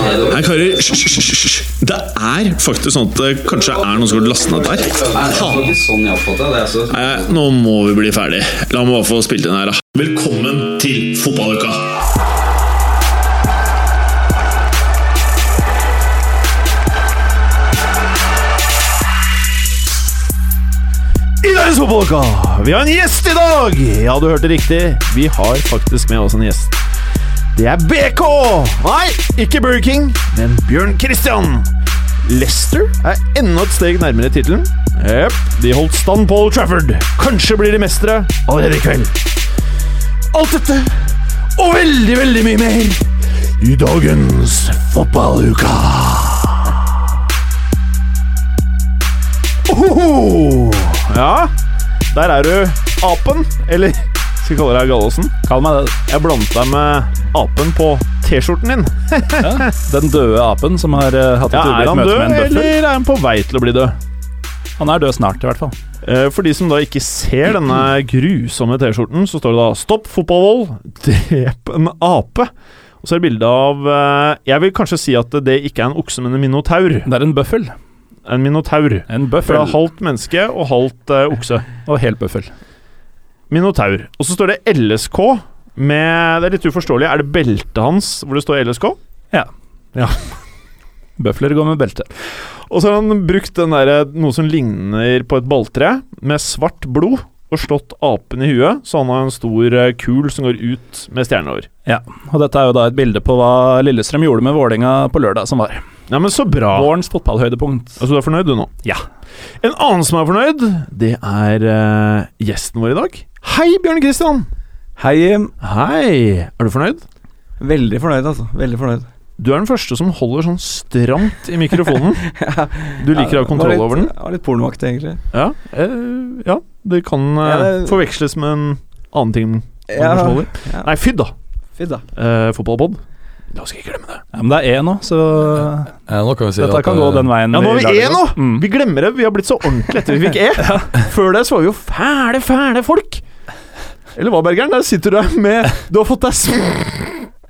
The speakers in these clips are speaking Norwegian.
hører hysj, hysj, hysj, hysj. Det er faktisk sånn at det kanskje er noen som har lastet ned der. Det er altså ikke sånn jeg har fått det. det er altså. Nei, nå må vi bli ferdig. La meg bare få spilt inn her, da. Velkommen til fotballuka! I dagens fotballuka! Vi har en gjest i dag! Ja, du hørte riktig. Vi har faktisk med oss en gjest. Det er BK! Nei, ikke Burger King, men Bjørn Christian. Leicester er enda et steg nærmere tittelen. Jepp, de holdt stand på Old Trafford. Kanskje blir de mestere allerede i kveld. Alt dette og veldig, veldig mye mer i dagens fotballuka. Ohoho! Ja, der er du apen, eller skal vi kalle deg Gallosen? Kall meg det. Jeg blandet deg med apen på T-skjorten din. Ja. Den døde apen som har eh, hatt et Ja, er ublidt han møte død, med en eller bøffel. er han på vei til å bli død? Han er død snart, i hvert fall. Eh, For de som da ikke ser denne grusomme T-skjorten, så står det da 'Stopp fotballvold, drep en ape'. Og så er det bilde av eh, Jeg vil kanskje si at det ikke er en okse, men en minotaur. Det er en bøffel. En minotaur. En For det er bøffel. halvt menneske og halvt eh, okse. Og helt bøffel. Minotaur. Og så står det LSK med Det er litt uforståelig. Er det beltet hans hvor det står LSK? Bøfler går med belte. Og så har han brukt den der, eh, noe som ligner på et balltre, med svart blod, og slått apen i huet, så han har en stor eh, kul som går ut med stjerne over. Og dette er jo da et bilde på hva Lillestrøm gjorde med Vålinga på lørdag som var. Ja, men så bra. Vårens fotballhøydepunkt. Altså, du er fornøyd, du nå? Ja. En annen som er fornøyd, det er eh, gjesten vår i dag. Hei, Bjørn Kristian! Hei, Jim. Hei! Er du fornøyd? Veldig fornøyd, altså. Veldig fornøyd. Du er den første som holder sånn stramt i mikrofonen. Du liker å ha kontroll over den. Jeg var litt pornoaktig, egentlig. Ja, eh, ja det kan eh, Ja, det- forveksles med en annen ting. man kanskje holder. ja. Nei, fydd, da! Fint, da. Eh, Fotballpod. La oss ikke glemme det. Ja, men det er E nå, så Ja, nå kan vi si dette at, kan gå eh, den veien. Ja, nå har vi E lager nå! det. Mm. Vi glemmer det. Vi har blitt så ordentlig etter vi fikk E. Før det så var vi jo fæle, fæle folk. Eller hva, Bergeren? Der sitter du her med Du har fått deg sm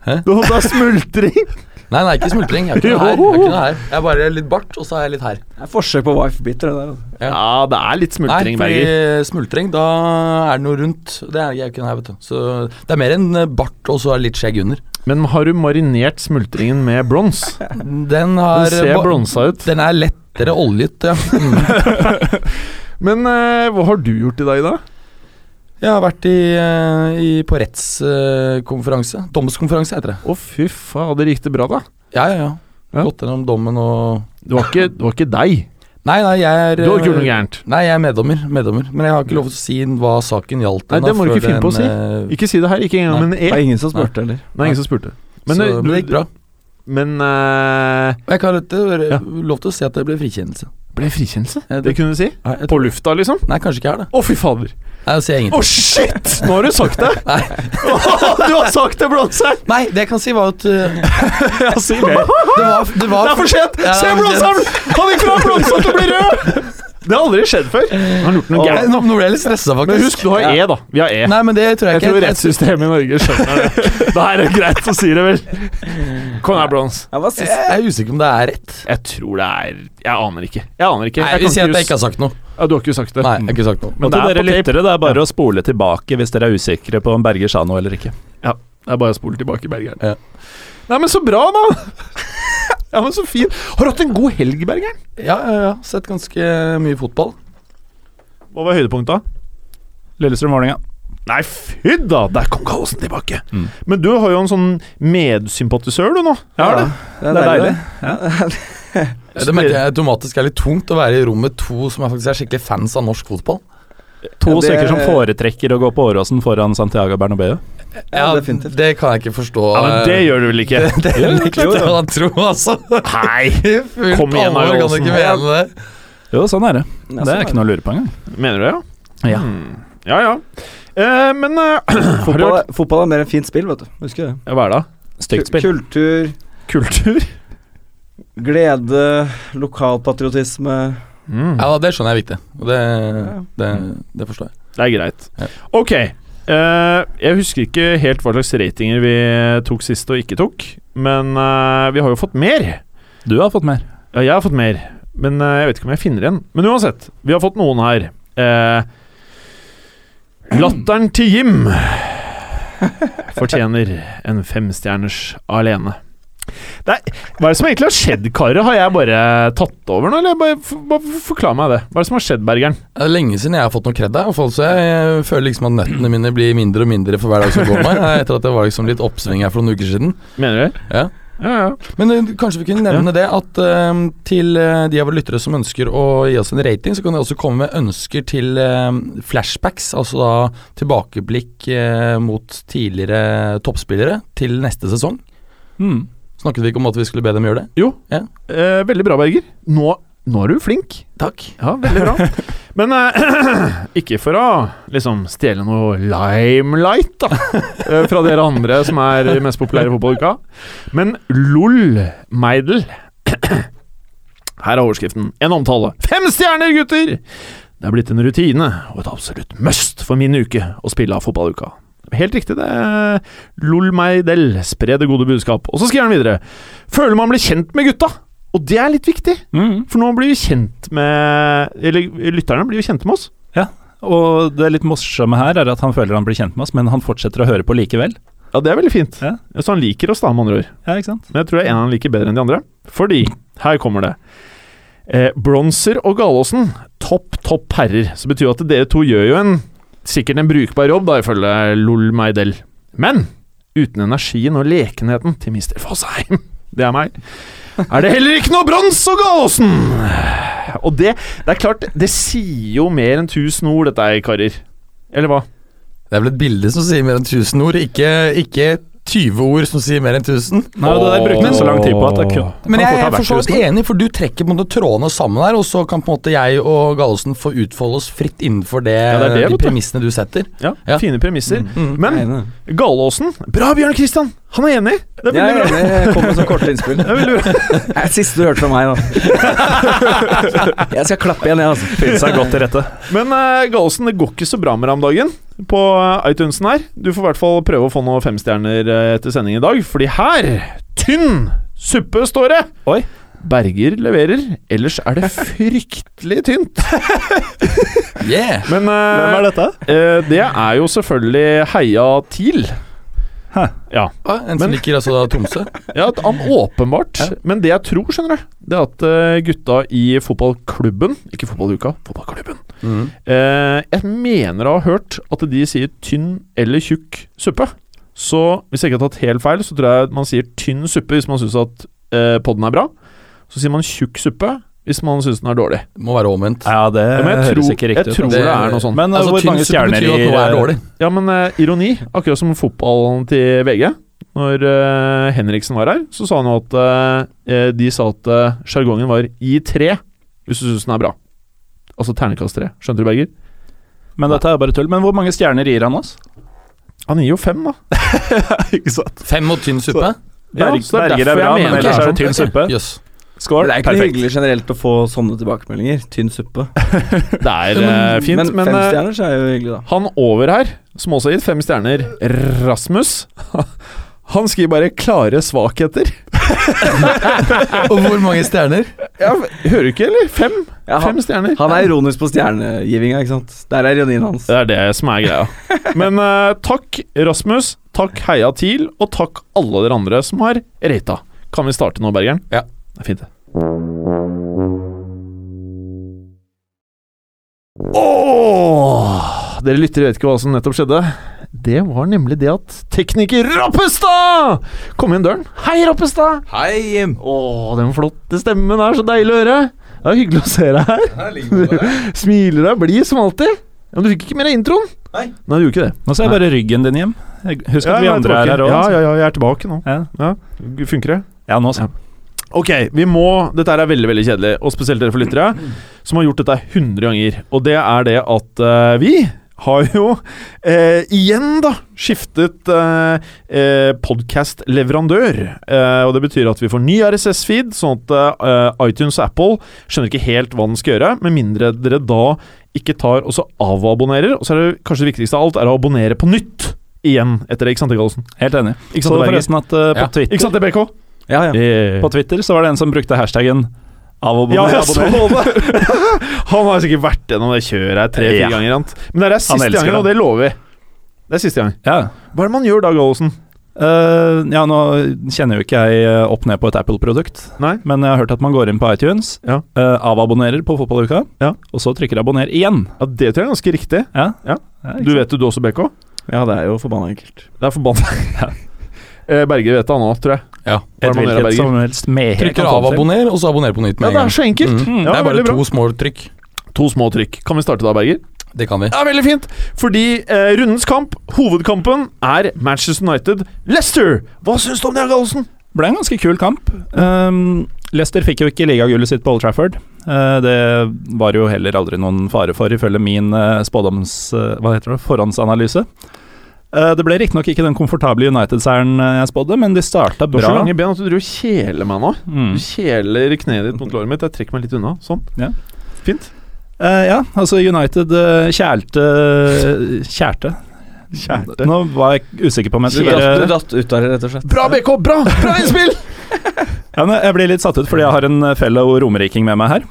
Hæ? Du har fått deg smultring. Nei, nei, ikke smultring. Jeg har ikke noe her. Jeg har ikke noe her. Jeg er bare litt bart, og så er jeg litt her. Det er forsøk på wife-biter, det der. altså. Ja, det er litt smultring, nei, Berger. fordi smultring, da er det noe rundt. Det er jeg ikke noe her, vet du. Så det er mer en eh, bart, og så er det litt skjegg under. Men har du marinert smultringen med brons? Den Den har eh, ser ba- bronsa ut. Den er lettere oljet, ja. Mm. Men eh, hva har du gjort i dag, da? Jeg har vært i, eh, i på rettskonferanse. Domskonferanse, heter det. Å, fy fader, gikk det bra, da? Ja, ja, ja. Ja. Gått gjennom dommen og Det var ikke, det var ikke deg. Nei, nei, jeg er Du har ikke gjort noe eh, gærent. Nei, jeg er meddommer, meddommer. Men jeg har ikke lov til å si hva saken gjaldt. Nei, ennå, det må du før ikke finne på å si. den, eh, Ikke si det her. Ikke engang med en Det E. var ingen som spurte heller. Nei, ingen som spurte. Men, så, eh, men det gikk du, bra. men eh, Og Jeg kan ikke være- Ja. lov til å si at det ble frikjennelse. Ble frikjennelse? Ja, Det det- kunne du si? Nei, jeg På lufta, liksom? Nei, kanskje ikke her, da. Å, fy fader. Nei, det sier jeg Å, ingenting. shit! Nå har du sagt det! Nei. du har sagt det, Blåseren! Nei, det jeg kan si, var at uh, Ja, si det. Det det var, det var er for sent! Ja, Se, det er for sent. Blåseren! Han gikk fra blomster til å bli rød! Det har aldri skjedd før. Han har gjort noe Nei, gærent. Nå nå ble jeg litt stressa, faktisk. Men husk, du har E, da. Vi har E. Nei, men det tror jeg, Jeg tror ikke. rettssystemet i Norge skjønner det. Da er det greit å si det, vel. Kom her, Blons. Jeg var Jeg, sist. jeg er usikker om det er rett. Jeg tror det er Jeg aner ikke. Jeg aner ikke. Nei, Jeg Vi kan sier at jeg ikke ikke har sagt noe. hus- ja, Du har ikke sagt det? Nei, jeg har ikke sagt noe. Men Og det til er dere på tape. lyttere, det er bare å spole tilbake hvis dere er usikre på om Berger sa noe eller ikke. Det er bare å spole tilbake, Bergeren. Ja. Nei, men så bra, da! Ja, men så fint. Har du hatt en god helg, Bergeren? Ja, ja, ja. Sett ganske mye fotball. Hva var høydepunktet? Lillestrøm-Vålinga. Nei, fy da! Der kom Gallosen tilbake. Mm. Men du har jo en sånn medsympatisør, du nå. Ja, det. Det er Det er deilig. deilig. Det merker jeg automatisk er litt tungt å være i rom med to som er faktisk er skikkelig fans av norsk fotball. To Ja, det- stykker som foretrekker å gå på Åråsen foran Santiago Bernabeu. Ja, definitivt. Det kan jeg ikke forstå. Ja, men det eh, gjør du vel ikke? det nekter jeg å tro, altså. Nei! I fullt Kom igjen, alvor kan du Olsen. ikke mene det. Jo, sånn er det. Ja, Det sånn er ikke noe å lure på engang. Mener du det, ja? Ja. Hmm. Ja ja. Eh, men eh, har du Fotball, vært er- fotball er mer enn fint spill, vet du. Husker du det? Ja, Hva er det? da? Stygt Ku- spill. Kultur, Kultur? glede, lokalpatriotisme. Mm. Ja, det skjønner jeg er viktig. Og det, Ja. det, det forstår jeg. Det er greit. Ja. Ok. eh, jeg husker ikke helt hva slags ratinger vi tok sist og ikke tok, men eh, vi har jo fått mer. Du har fått mer. Ja, jeg har fått mer, men eh, jeg vet ikke om jeg finner en. Men uansett, vi har fått noen her. Eh, latteren til Jim fortjener en femstjerners alene. Nei, hva er det som egentlig har skjedd, karer? Har jeg bare tatt over nå, eller? Bare, f- bare forklar meg det. Hva er det som har skjedd, Bergeren? Det er lenge siden jeg har fått noe kred der. i hvert fall, Så jeg, jeg føler liksom at nøttene mine blir mindre og mindre for hver dag som går med. Etter at det var liksom litt oppsving her for noen uker siden. Mener du? Ja. Ja, ja. Men eh, kanskje vi kunne nevne det at eh, til eh, de av våre lyttere som ønsker å gi oss en rating, så kan de også komme med ønsker til eh, flashbacks, altså da tilbakeblikk eh, mot tidligere toppspillere til neste sesong. Mm. Snakket vi ikke om at vi skulle be dem gjøre det? Eh, veldig bra, Berger. Nå, nå er du flink. Takk. Ja, veldig bra. Men eh, ikke for å liksom stjele noe limelight, da, eh, fra dere andre som er mest populære i fotballuka. Men LOL Meidel Her er overskriften. En omtale. Fem stjerner, gutter! Det er blitt en rutine og et absolutt must for min uke å spille av fotballuka. Helt riktig, det. er LOL Meidel. Spre det gode budskap. Og så skriver han videre. Føler man blir kjent med gutta. Og det er litt viktig. Mm. For nå blir vi kjent med Eller lytterne blir jo kjent med oss. Og det litt morsomme her er at han føler han blir kjent med oss, men han fortsetter å høre på likevel. Ja, det er veldig fint. Ja. Så han liker oss, da, med andre ord. Ja, ikke sant? Men jeg tror det er en han liker bedre enn de andre. Fordi her kommer det. Eh, Bronser og Galåsen, topp, topp herrer. Så betyr jo at dere to gjør jo en sikkert en brukbar jobb, da, ifølge LOL Meidel. Men uten energien og lekenheten til Mr. Fosheim, det er meg, er det heller ikke noe brons og Galåsen! Og det, det er klart, det sier jo mer enn tusen ord, dette her, karer. Eller hva? Det er vel et bilde som sier mer enn 1000 ord, ikke, ikke 20 ord som sier mer enn 1000. Nei, og det der brukte han så lang tid på at det kun, Men kan jeg, fort ha er vært for så vidt tusen. enig, for du trekker på en måte trådene sammen her, og så kan på en måte jeg og Gallosen få utfolde oss fritt innenfor det, det er det, vet de du. premissene du setter. Ja, Ja. Fine premisser. Mm. Men Jeg er enig. Galåsen Bra, Bjørn Kristian! Han er enig! Det er Jeg veldig er bra. enig. Jeg kom med så korte innspill. Det er veldig bra. Det er det siste du hørte fra meg, da. Jeg skal klappe igjen, jeg, altså. Finne seg godt til rette. Men uh, Gallosen, det går ikke så bra med deg om dagen på eh, iTunesen her. Du får i hvert fall prøve å få noen femstjerner eh, etter sending i dag, fordi her Tynn suppe står det! Oi. Berger leverer, ellers er det fryktelig tynt. Yeah! Men eh, Hvem er dette? eh, det er jo selvfølgelig Heia TIL. Ah, En som Men- liker altså da Tromsø. Ja, at han åpenbart. Men det jeg tror, skjønner du, det er at eh, gutta i fotballklubben Ikke fotballuka, fotballklubben. Eh, jeg mener å ha hørt at de sier tynn eller tjukk suppe. Så hvis jeg ikke har tatt helt feil, så tror jeg man sier tynn suppe hvis man syns at eh, podden er bra. Så sier man tjukk suppe hvis man syns den er dårlig. Må være omvendt. Ja, det Ja, men jeg Eh, høres tror- ikke jeg riktig ut. tror altså. det er noe sånt. Men eh, Altså, hvor mange tynn suppe stjerner betyr jo at noe er i dårlig. Ja, men eh, ironi. Akkurat som fotballen til VG. Når eh, Henriksen var her, så sa han jo at eh, de sa at eh, sjargongen var i tre, hvis du syns den er bra. Altså ternekast tre. Skjønte du, Berger? Men dette er bare tull. Men hvor mange stjerner gir han oss? Han gir jo fem, da. Ikke sant? Fem og tynn suppe. Berg, så det er berger derfor altså, er bra, jeg men mener ellers er sånn. det Ok, tynn suppe. Jøss. Skål. Det er ikke noe hyggelig generelt å få sånne tilbakemeldinger. Tynn suppe. Det er eh, fint, Men men, fem eh, stjerner så er jo hyggelig, da. han over her, som også har gitt fem stjerner, Rasmus Han skriver bare 'klare svakheter'. Og hvor mange stjerner? Ja, hører du ikke, eller? Fem? Ja, han, Fem stjerner. han er ironisk på stjernegivinga, ikke sant. Der er ironien hans. Det er det som er greia. Men eh, takk, Rasmus. Takk, Heia TIL. Og takk, alle dere andre som har rata. Kan vi starte nå, Bergeren? Ja. Det er fint, det. Åh, dere lyttere vet ikke hva som nettopp skjedde. Det var nemlig det at tekniker Rappestad kom inn døren. Hei, Rappestad! Hei! Åh, den flotte stemmen er så deilig å høre. Det er hyggelig å se deg her. Smiler deg blid som alltid. Ja, Men du fikk ikke mer av introen? Nei. Nei, du gjorde ikke det. Nå ser jeg bare ryggen din hjem. Jeg- Husk at vi jeg andre er her tilbake. òg. Ja, ja, ja, jeg er tilbake nå. Ja. Funker det? ja, nå altså. så. Ok, vi må Dette her er veldig veldig kjedelig, og spesielt dere for lyttere, som har gjort dette 100 ganger. Og det er det at eh, vi har jo eh, igjen, da, skiftet eh, eh, podkast-leverandør. Eh, og det betyr at vi får ny RSS-feed, sånn at eh, iTunes og Apple skjønner ikke helt hva den skal gjøre, med mindre dere da ikke tar og så avabonnerer. Og så er det kanskje det viktigste av alt er å abonnere på nytt igjen etter det, ikke sant, Gallosen? Helt enig. Ikke sant, Så Berger? forresten at eh, på Ja. Twitter Ikke sant, DBK? Ja, ja. I- På Twitter så var det en som brukte hashtaggen avabonner. Ja, jeg så det! Han har sikkert vært gjennom det kjøret her tre-fire Ja. ganger. Han. Men det er siste elsker gangen, og det. det lover vi. Det er siste gang. Ja. Hva er det man gjør da, Gallosen? Eh, ja, nå kjenner jo ikke jeg eh, opp ned på et Apple-produkt, Nei. men jeg har hørt at man går inn på iTunes, Ja. eh, avabonnerer på fotballuka, Ja. og så trykker abonner igjen. Ja, Det tror jeg er ganske riktig. Ja. Ja. ikke Du vet jo du også, BK? ja, det er jo forbanna enkelt. Det er forbanna. Eh, Berger vet det, han òg, tror jeg. Ja. Hva er Et det man gjør, hvilket Berger? som helst medhet Trykker kan av komme til. abonner, og så abonner på nytt Ja, med det en er gang. så enkelt. Mm. Ja, det er bare veldig bra. to små trykk. To små trykk. Kan vi starte da, Berger? Det kan vi. Ja, veldig fint. Fordi eh, rundens kamp, hovedkampen, er Manchester United Leicester. Hva syns du om det, Gallosen? ble en ganske kul kamp. Um, Leicester fikk jo ikke ligagullet sitt på Old Trafford. Eh, det var jo heller aldri noen fare for, ifølge min eh, spådoms... eh, hva heter det? Forhåndsanalyse. Eh, det ble riktignok ikke den komfortable United-seieren eh, jeg spådde, men de starta Du har bra. så lange ben at du driver og kjeler meg nå. Mm. Du kjeler kneet ditt mot låret mitt. Jeg trekker meg litt unna. Sånn. Ja. Fint. Eh, ja, altså United eh, kjælte Kjærte. Kjærte. Nå var jeg usikker på om Du jeg datt, du datt ut av det, rett og slett. Bra, BK! Bra! Bra innspill! Ja, men jeg blir litt satt ut fordi jeg har en eh, fellow romeriking med meg her.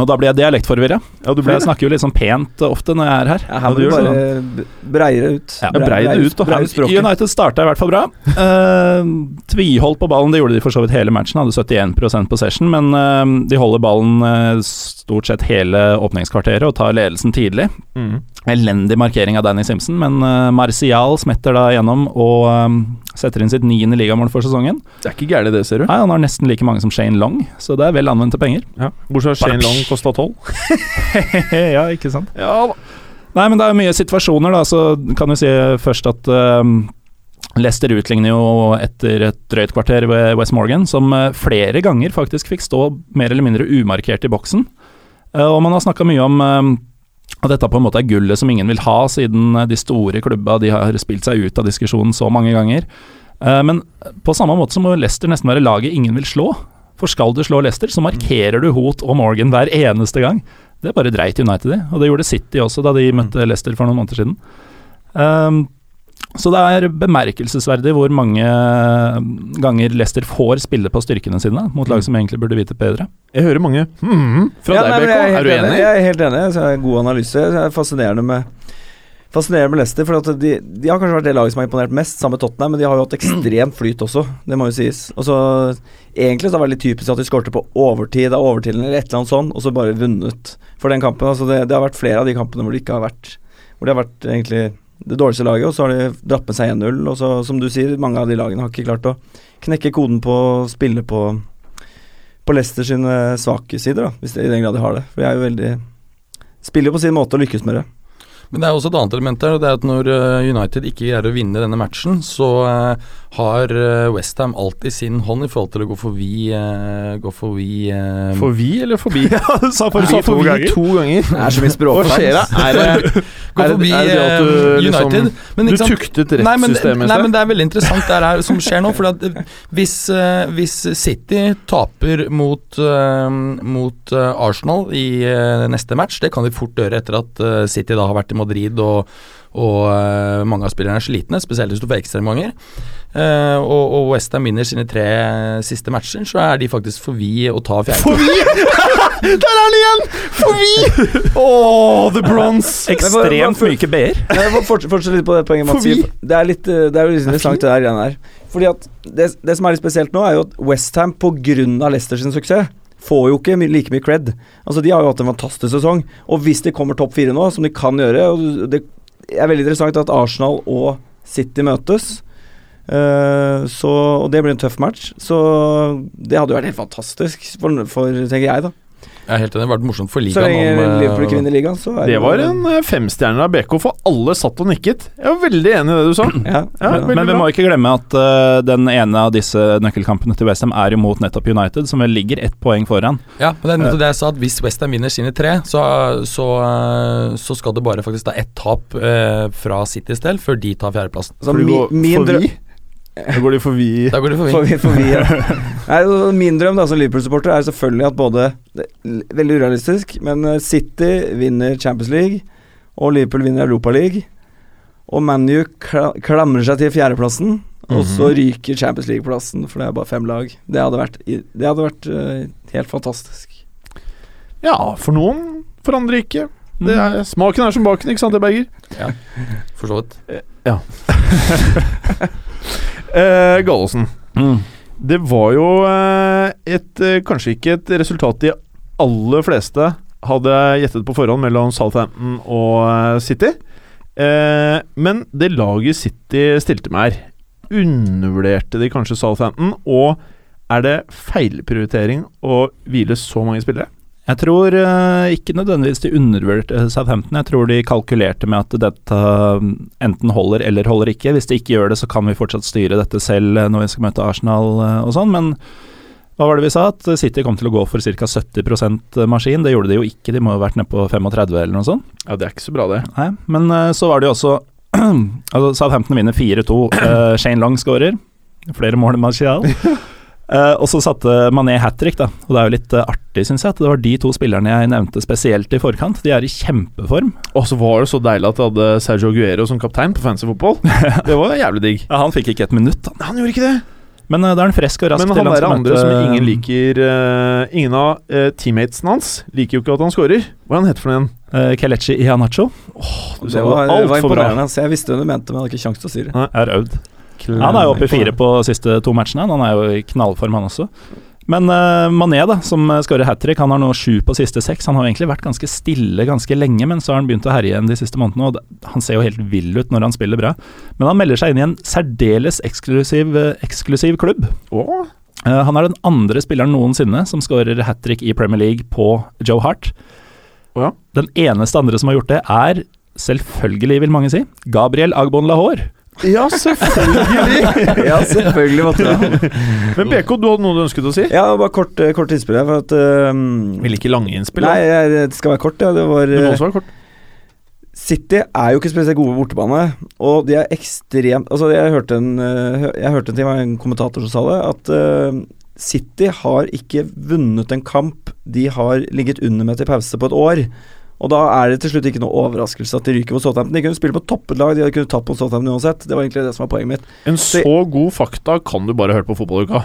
Og da blir jeg dialektforvirra. Ja, du For ble jeg snakker jo litt sånn pent eh, ofte når jeg er her. Ja, her må du gjør sånn, bare b- breie det ut. Ja, brei det ut, da. Breie ut språket. United starta i hvert fall bra. Eh, tviholdt på ballen, det gjorde de for så vidt hele matchen. Hadde 71 possession, men eh, de holder ballen eh, stort sett hele åpningskvarteret og tar ledelsen tidlig. Mm. Elendig markering av Danny Simpson, men eh, Martial smetter da gjennom og eh, setter inn sitt niende ligamål for sesongen. Det er ikke gærent, det, ser du. Nei, han har nesten like mange som Shane Long, så det er vel anvendte penger. Bortsett fra Bare Shane Long kosta tolv. ja, ikke sant? Ja da. Nei, men det er jo mye situasjoner, da. Så kan du si først at ehm, Leicester utligner jo etter et drøyt kvarter ved West Morgan, som eh, flere ganger faktisk fikk stå mer eller mindre umarkert i boksen. Eh, og man har snakka mye om ehm, at dette på en måte er gullet som ingen vil ha, siden eh, de store klubba de har spilt seg ut av diskusjonen så mange ganger. Eh, men på samme måte så må Leicester nesten være laget ingen vil slå. For skal du slå Leicester, så markerer du Hoot og Morgan hver eneste gang. Det bare dreit United i, og det gjorde City også da Mm. de møtte Leicester for noen måneder siden. Ehm, så det er bemerkelsesverdig hvor mange eh, ganger Leicester får spille på styrkene sine mot Mm. lag som egentlig burde vite bedre. Jeg hører mange mm, fra Ja, nei, deg, men BK. jeg Er du helt enig? enig? Jeg er helt enig. Så er det en god analyse. Så er det fascinerende med Fascinerende med Leicester. For at de, de har kanskje vært det laget som har imponert mest, sammen med Tottenham, men de har jo hatt ekstremt flyt også. Det må jo sies. Og så Egentlig så er det veldig typisk at de skårte på overtid av overtiden eller et eller annet sånn, og så bare vunnet for den kampen. Altså det, det har vært flere av de kampene hvor det ikke har vært Hvor det har vært egentlig det dårligste laget, og så har de dratt med seg 1-0. Og så, som du sier, mange av de lagene har ikke klart å knekke koden på å spille på på Leicester sine svake sider, da, hvis det, i den grad de har det. For de er jo veldig Spiller jo på sin måte og lykkes med det. Men det er også et annet element der, og det er at når eh, United ikke greier å vinne denne matchen, så eh, har Westham alt i sin hånd i forhold til å gå forbi, eh, gå forbi eh, Forvi eller forbi? Ja, du sa Du sa forbi to ganger. Det er så mye Hva skjer da? Er det, Gå er det- forbi er det det at du eh, liksom- United. men du ikke sant- tuktet Nei, men, rettssystemet nei, i sted? men det er veldig interessant det her som skjer nå. For at eh, hvis, eh, hvis City taper mot, eh, mot eh, Arsenal i eh, neste match, det kan de fort gjøre etter at eh, City da har vært i Madrid og, og eh, mange av spillerne er slitne, spesielt hvis du får ekstraomganger. Uh, og og Westham vinner sine tre eh, siste matcher, så er de faktisk forbi å ta fjerde. Der er det igjen! Forbi! Å, the bronze! Ekstremt myke B-er. Jeg får forts- fortsette litt på det poenget Mats Forbi. sier. Det er, litt, eh, det er jo litt interessant det der greiene her. Fordi at det, det som er litt spesielt nå, er jo at Westham pga. Leicester sin suksess får jo ikke my like mye cred. Altså De har jo hatt en fantastisk sesong. Og hvis de kommer topp fire nå, som de kan gjøre og Det er veldig interessant at Arsenal og City møtes. Eh, så, og det blir en tøff match. Så det hadde jo vært helt fantastisk, for, for tenker jeg, da. Jeg er helt enig, det har vært morsomt for Så ligaen. lenge om, eh, Liverpool ikke vinner ligaen, så er Det jo- var en eh, femstjerner av BK, for alle satt og nikket. Jeg var veldig enig i det du sa. Altså, ja. Ja, Men, veldig men vi bra. må ikke glemme at eh, den ene av disse nøkkelkampene til Westham er imot nettopp United, som vel ligger ett poeng foran. Ja, men det er nettopp det jeg sa, at hvis Westham vinner sine tre, så, så, eh, så skal det bare faktisk ta ett tap eh, fra Citys del før de tar fjerdeplassen. Altså, For du mi, går min drøm forbi? Da går de forbi Da går de For forbi. vi, for vi, ja. Nei, altså, min drøm da, som Liverpool-supporter er selvfølgelig at både det er Veldig urealistisk, men eh, City vinner Champions League, og Liverpool vinner Europa League. Og ManU kla- klamrer seg til fjerdeplassen, Og så ryker Champions League-plassen, for det er bare fem lag. Det hadde vært, i- det hadde vært eh, helt fantastisk. Ja, for noen, for andre ikke. Det er, smaken er som baken, ikke sant, det, Berger? for så vidt. Eh, Gallosen. Mm. Det var jo eh, et eh, Kanskje ikke et resultat de aller fleste hadde gjettet på forhånd mellom Southampton og eh, City. Eh, men det laget City stilte med her, undervurderte de kanskje Southampton? Og er det feilprioritering å hvile så mange spillere? Jeg tror eh, ikke nødvendigvis de undervurderte Southampton. Jeg tror de kalkulerte med at dette eh, enten holder eller holder ikke. Hvis de ikke gjør det, så kan vi fortsatt styre dette selv eh, når vi skal møte Arsenal eh, og sånn. Men hva var det vi sa? At City kom til å gå for ca. 70 maskin. Det gjorde de jo ikke, de må ha vært nede på 35 eller noe sånt. Ja, det er ikke så bra, det. Nei. Men eh, så var det jo også altså Southampton vinner 4-2. Eh, Shane Long skårer. Flere mål enn Martial. Eh, og så satte Mané hat trick, da. Og det er jo litt eh, artig, syns jeg, at det var de to spillerne jeg nevnte spesielt i forkant. De er i kjempeform. Og så var det så deilig at de hadde Sergio Guero som kaptein på fancy fotball. Det var jævlig digg. Ja, han fikk ikke et minutt, da. Han gjorde ikke det. Men eh, da er han frisk og rask Men til han der skal andre møte- som ingen liker eh, Ingen av eh, teammatesen hans liker jo ikke at han scorer. Hva er han heter for den? eh, Kelechi Ianacho Du sa Det var, alt det var for bra. imponerende. Så jeg visste hva du mente, men jeg hadde ikke kjangs til å si det. er øvd. Han er jo oppe i fire på siste to matchene. Han er jo i knallform, han også. Men eh, Mané, da, som eh, skårer hat trick, han har nå sju på siste seks. Han har jo egentlig vært ganske stille ganske lenge, men så har han begynt å herje igjen de siste månedene. Og det- han ser jo helt vill ut når han spiller bra. Men han melder seg inn i en særdeles eksklusiv, eh, eksklusiv klubb. Åh, Eh, han er den andre spilleren noensinne som skårer hat trick i Premier League på Joe Hart. Ja. Den eneste andre som har gjort det, er, selvfølgelig vil mange si, Gabriel Agbon Lahore. Ja, selvfølgelig! Ja, selvfølgelig måtte det. Men BK, du hadde noe du ønsket å si? Ja, bare kort, eh, kort innspill her, for at ehm, Vil ikke lange innspill. Nei, jeg, det skal være kort, ja. Det var Du må eh, også være kort. City er jo ikke spesielt gode på bortebane, og de er ekstremt Altså, jeg hørte en, eh, hø- jeg hørte en ting av en kommentator som sa det, at eh, City har ikke vunnet en kamp de har ligget under med til pause på et år. Og da er det til slutt ikke noe overraskelse at de ryker mot Southampton. De kunne spille på toppet lag, de hadde kunnet tapt mot Southampton uansett. Det var egentlig det som var poenget mitt. En så god fakta kan du bare høre på fotballuka.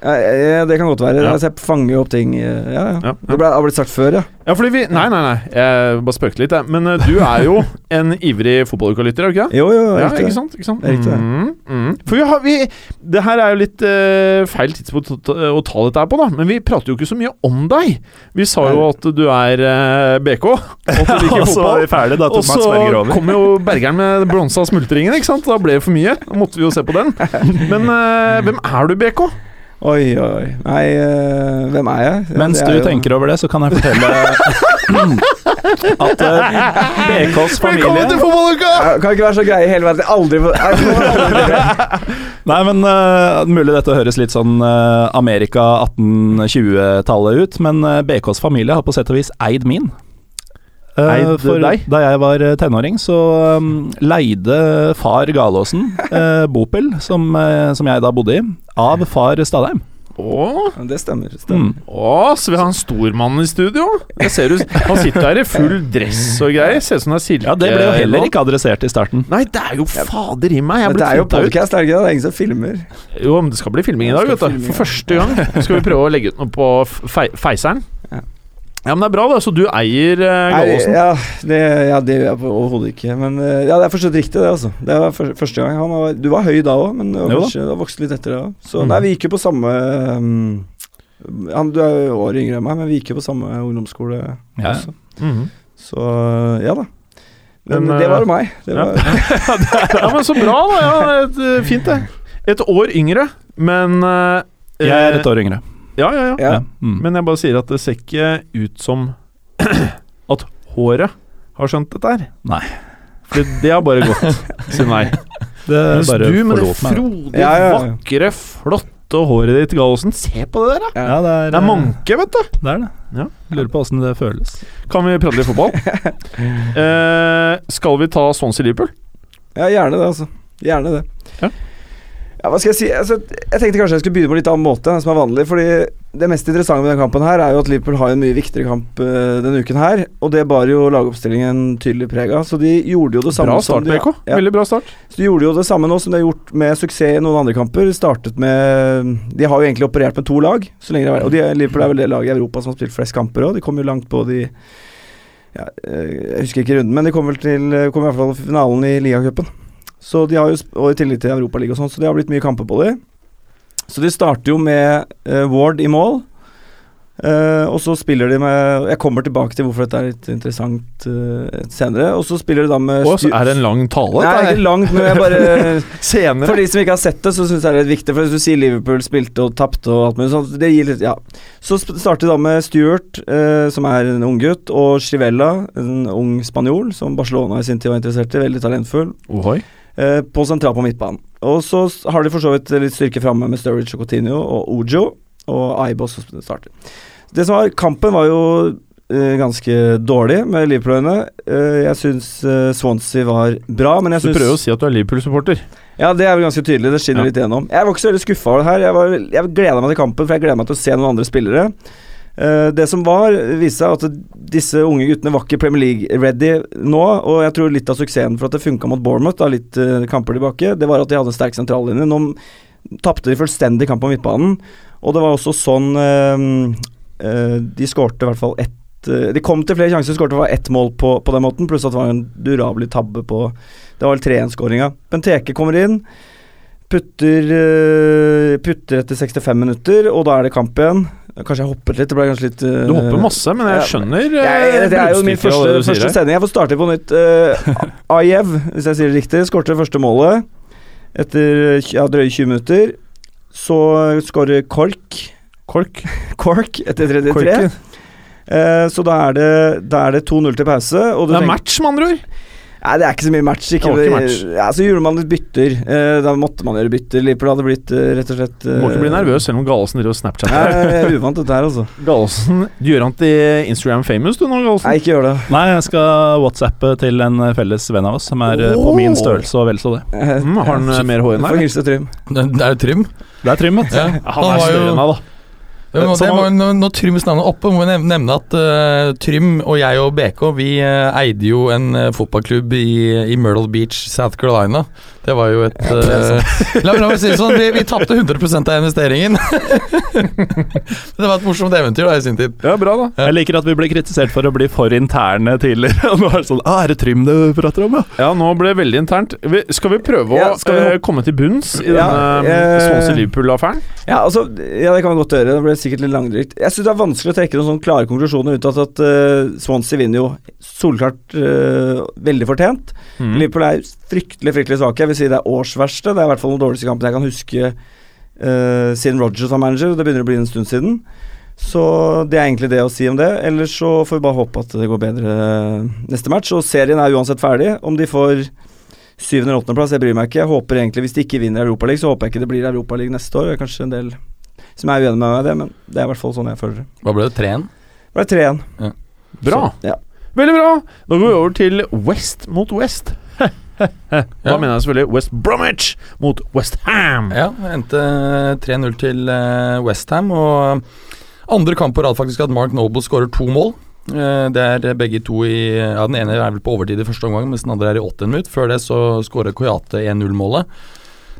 Ja, ja, det kan godt være. Ja. Altså, jeg fanger jo opp ting eh, Ja, ja. Ja, Det ble, har blitt sagt før, ja. ja, fordi vi Nei, nei, nei. Jeg bare spøkte litt, jeg. Men eh, du er jo en ivrig fotballuka-lytter, er du ikke det? Jo, jo, Ja, riktig. ikke sant? Ikke sant? Det er riktig, det. Mm, mm. For vi har, vi, det her er jo litt eh, feil tidspunkt å ta, å ta dette her på, da. Men vi prater jo ikke så mye om deg. Vi sa jo at du er eh, BK, og at du liker fotball. ferdig, da Og så kom jo Bergeren med den blonsa smultringen, ikke sant? Da ble det for mye. Da måtte vi jo se på den. Men eh, hvem er du, BK? Oi, oi, oi. Nei, eh, hvem er jeg? Ja, Mens det du er jo- tenker over det, så kan jeg fortelle at eh, BKs Velkommen til familie fotballuka! Ja, Kan ikke være så greie hele verden. Aldri få Nei, det må jeg aldri gjøre. Nei, men eh, mulig dette høres litt sånn eh, Amerika 1820-tallet ut, men eh, BKs familie har på sett og vis eid min. Eh, Eid for deg? Da jeg var eh, tenåring, så eh, leide far Galåsen eh, bopel, som, eh, som jeg da bodde i, av far Stadheim. Å, Ja, Det stemmer. stemmer. Mm. å, så vi har en stormann i studio. Jeg ser du, Han sitter her i full dress og greier. Ser ut som det er silke. Ja, det ble jo heller ikke adressert i starten. Nei, det er jo fader i meg! Jeg Men ble det er jo flyttet ut. podcast, er det ikke det? Det er ingen som filmer. Jo, men det skal bli filming i dag, vet du. For første gang skal vi prøve å legge ut noe på fei Feiseren. Ja. Ja, men det er bra, da. Så du eier uh, Nei, Gallosen. ja, det, ja, det gjør jeg på- overhodet ikke. Men eh, ja, det er forstått riktig, det. altså Det var fyr- første gang. Han var, du var høy da òg, men du har Jo da. kanskje du har vokst litt etter det òg. Så Mm. nei, vi gikk jo på samme eh, han, Du er jo året yngre enn meg, men vi gikk jo på samme ungdomsskole Ja. også. Mhm. Så eh, ja da. Men, Men, eh, det var jo meg. Det ja. var, ja, men så bra, da. Ja, et, eh, fint, det. Et år yngre, men eh, Jeg er et år yngre. Ja, ja, ja. ja. Ja. Mm. Men jeg bare sier at det ser ikke ut som at håret har skjønt dette her. Nei. For det har bare gått sin vei. Det Mens eh, Eh, bare du med det forlot meg. frodige, Ja, ja, ja. vakre, flotte håret ditt, Gallosen, se på det der, da! Ja, det er, Det er manke, vet du. Det er det. Ja. Lurer på åssen det føles. Kan vi prate litt fotball? eh, skal vi ta Swansea Liverpool? Ja, gjerne det, altså. Gjerne det. Ja. Ja, hva skal jeg si? Altså, jeg tenkte kanskje jeg skulle begynne på en litt annen måte enn det som er vanlig. fordi det mest interessante med denne kampen her er jo at Liverpool har en mye viktigere kamp eh, denne uken her. Og det bar jo lagoppstillingen tydelig preg av. Så de gjorde jo det samme Bra start, de, BK. Ja, Veldig bra start. så de gjorde jo det samme nå som de har gjort med suksess i noen andre kamper. Startet med De har jo egentlig operert med to lag, så lenge det er, og de, Liverpool er vel det laget i Europa som har spilt flest kamper òg. De kom jo langt på de ja, eh, Jeg husker ikke runden, men de kom vel til kom i hvert fall til finalen i ligacupen. Så de har jo sp- Og i tillegg til Europaligaen og sånn, så det har blitt mye kamper på de. Så de starter jo med eh, Ward i mål. Eh, og så spiller de med Jeg kommer tilbake til hvorfor dette er litt interessant eh, senere. Og så spiller de da med Og så er det en lang tale. Eh, Nei, dette ikke langt, men jeg bare her. Senere. For de som ikke har sett det, så syns jeg det er litt viktig. For hvis du sier Liverpool spilte og tapte og alt mulig sånt, det gir litt Ja. Så sp- starter vi da med Stuart, eh, som er en ung gutt, og Chivella, en ung spanjol som Barcelona i sin tid var interessert i. Veldig talentfull. Ohoi. Eh, på sentral på midtbanen. Og så s- har de for så vidt litt styrke framme med Sturridge og Coutinho og Ojo og Aibo som sp- starter. Det som var Kampen var jo eh, ganske dårlig med Liverpool-øyne. Eh, jeg syns eh, Swansea var bra, men jeg Du syns prøver å si at du er Liverpool-supporter. ja, det er vel ganske tydelig. Det skinner Ja. litt gjennom. Jeg var ikke så veldig skuffa over det her. Jeg, var- jeg gleda meg til kampen, for jeg gleda meg til å se noen andre spillere. Eh, det som var, viste seg at disse unge guttene var ikke Premier League-ready nå. Og jeg tror litt av suksessen for at det funka mot Bournemouth, da, litt eh, kamper tilbake, det var at de hadde en sterk sentrallinje. Nå tapte de fullstendig kamp på midtbanen, og det var også sånn eh, eh, De skårte i hvert fall ett eh, De kom til flere sjanser, skårte i hvert fall ett mål på, på den måten, pluss at det var en durabelig tabbe på det var vel 3-1-skåringa. Benteke kommer inn, putter, eh, putter etter 65 minutter, og da er det kamp igjen. Kanskje jeg hoppet litt, det ble kanskje litt eh, Du hopper masse, men jeg ja. skjønner eh, jeg, det er jo min bruddstykket av det du første, sier første her. sending. Jeg får starte på nytt. Uh, Ajev, hvis jeg sier det riktig, skårte første målet etter eh, ja, drøye 20 minutter. Så skårer Kork Kork. Kork etter 33. Korken. Eh, så da er det, da er det 2-0 til pause. Og du Det er tenker- match, med andre ord. Nei, det er ikke så mye match. Ikke, Det var ikke match. Ja, så gjorde man litt bytter. Eh, da måtte man gjøre bytter. Liverpool hadde blitt eh, rett og slett Du uh, må ikke bli nervøs selv om Galesen driver og Nei, snapchatter. jeg er uvant dette her, altså. Galesen, du gjør han til Instagram famous, du nå, Galesen. Nei, ikke gjør det. Nei, jeg skal whatsappe til en eh, felles venn av oss som er eh, på min Åh. størrelse og vel så det. Eh, Mm, har han eh, mer hår Du enn får deg? hilse Trym. Det det er jo Trym. Det er Trym, vet du. Ja. Ja, Han er var større jo- enn meg, da. Ja, men Så det man- var, jo- når, når Tryms navn er oppe, må vi nev- nevne at eh, Trym og jeg og BK Vi eh, eide jo en eh, fotballklubb i, i Myrtle Beach, South Carolina. Det var jo et eh, La, la meg si det sånn, vi, vi tapte 100 av investeringen. det var et morsomt eventyr da i sin tid. Ja, bra, da. Jeg liker at vi ble kritisert for å bli for interne tidligere. Og nå er det sånn ah, Er det Trym du prater om, ja? Ja, nå ble det veldig internt. Vi- Skal vi prøve å Ja, skal vi eh, hoppe- komme til bunns i Ja, denne eh, eh, Swansea-Liverpool-affæren? Ja, altså, ja, det kan man godt gjøre. Det ble sikkert litt langdrygt. Jeg syns det er vanskelig å trekke noen sånne klare konklusjoner ut av at eh, Swansea vinner jo solklart eh, veldig fortjent. Mm. Liverpool er fryktelig fryktelig svake. Jeg vil si det er årsverste. Det er i hvert fall den dårligste kampen jeg kan huske eh, siden Rogers var manager. Det begynner å bli en stund siden. Så det er egentlig det å si om det. Ellers så får vi bare håpe at det går bedre eh, neste match. Og serien er uansett ferdig. Om de får syvende- eller åttendeplass, jeg bryr meg ikke. Jeg håper egentlig Hvis de ikke vinner Europaligaen, så håper jeg ikke det blir Europaligaen neste år. Det er kanskje en del som er uenig med meg i det, men det er i hvert fall sånn jeg føler det. Hva ble det? 3-1? Det ble 3-1. Bra. Så, ja. Veldig bra. Da går vi over til West mot West. da Ja. mener jeg selvfølgelig West Bromwich mot West Ham. Ja, det endte 3-0 til eh, West Ham Og eh, andre kamp på rad faktisk at Mark Noble skårer to mål. Eh, Det er begge to i Ja, Den ene er vel på overtid i første omgang, mens den andre er i åttende minutt. Før det så skårer Koyate 1-0-målet.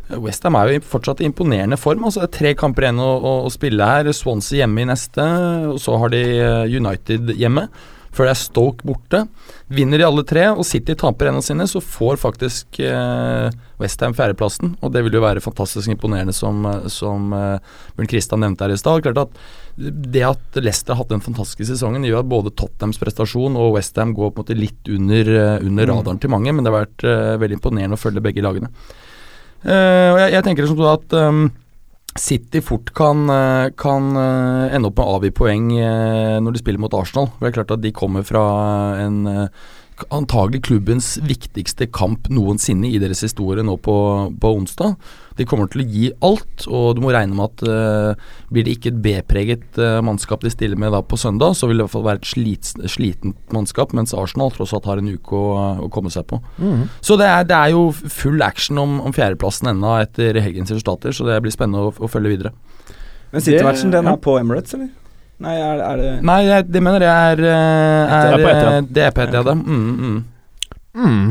Eh, West Ham er jo i- fortsatt i imponerende form. Altså Det er tre kamper igjen å, å, å spille her. Swansea hjemme i neste, og så har de eh, United hjemme. Før det er Stoke borte. Vinner de alle tre, og City taper en av sine, så får faktisk eh, Westham fjerdeplassen, og det vil jo være fantastisk imponerende, som, som eh, Bjørn Kristian nevnte her i stad. Klart at Det at Leicester har hatt den fantastiske sesongen, gjør at både Tottenhams prestasjon og Westham går på en måte litt under, eh, under radaren til mange, men det har vært eh, veldig imponerende å følge begge lagene. Eh, og jeg, jeg tenker som så at ehm, City fort kan, eh, kan eh, ende opp med å avgi poeng eh, når de spiller mot Arsenal. For det er klart at de kommer fra en eh, k- antagelig klubbens viktigste kamp noensinne i deres historie nå på, på onsdag. De kommer til å gi alt, og du må regne med at eh, blir det ikke et B-preget eh, mannskap de stiller med da på søndag, så vil det i hvert fall være et slits, slitent mannskap, mens Arsenal tross alt har en uke å, å komme seg på. Mm. Så det er, det er jo full action om, om fjerdeplassen ennå etter helgens resultater, så det blir spennende å, å følge videre. Men City-matchen, den ja. er på Emirates, eller? Nei, er, det- er det Nei, jeg, det mener jeg er, eh, Det er er på etter, ja. eh, Det er på etter, ja. da. Mm, mm. Mm.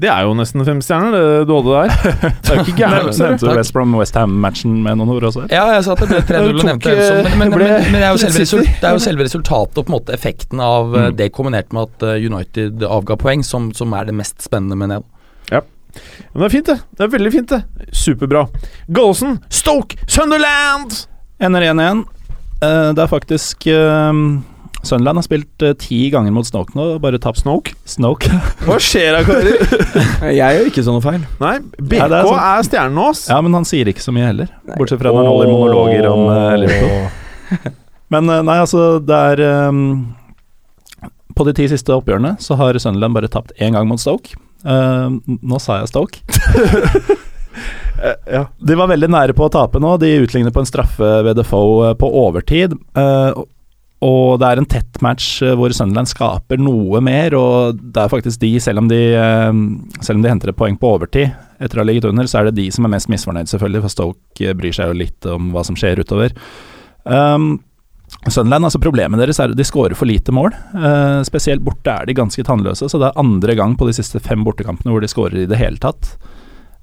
Det er jo nesten fem stjerner, det du hadde der. Det er jo ikke gærent. ser du. Nevnte West Brom-Westham-matchen med noen ord også? Ja, jeg sa at det ble Ja, 3-0 du og nevnte tok, en som- eh, men, men, ble men, men det, er jo selve City. result, det er jo selve resultatet og på en måte effekten av Mm. eh, det kombinert med at eh, United avga poeng, som, som er det mest spennende med det. Men det er fint, det. Det er Veldig fint, det. Superbra. Gallosen, Stoke, Sunderland! Ender 1-1. Eh, det er faktisk eh, Sunderland har spilt eh, ti ganger mot Snoke nå, bare tapt Snoke. Snoke. Hva skjer da, karer? Jeg gjør ikke sånn noe feil. Nei, BK Ja, det er, er sant. stjernen nå, ass. ja, men han sier ikke så mye heller, bortsett fra når han holder monologer om eh, Liverpool. Men eh, nei, altså, det er eh, På de ti siste oppgjørene så har Sunderland bare tapt én gang mot Stoke. Eh, nå sa jeg Stoke. Eh, Ja. De var veldig nære på å tape nå. De utligner på en straffe ved Defoe eh, på overtid. Eh, og- og det er en tett match eh, hvor Sunderland skaper noe mer, og det er faktisk de, selv om de, eh, selv om de henter et poeng på overtid etter å ha ligget under, så er det de som er mest misfornøyd, selvfølgelig, for Stoke eh, bryr seg jo litt om hva som skjer utover. Um, Sunderland, altså Problemet deres er at de skårer for lite mål. Eh, spesielt borte er de ganske tannløse, så det er andre gang på de siste fem bortekampene hvor de skårer i det hele tatt.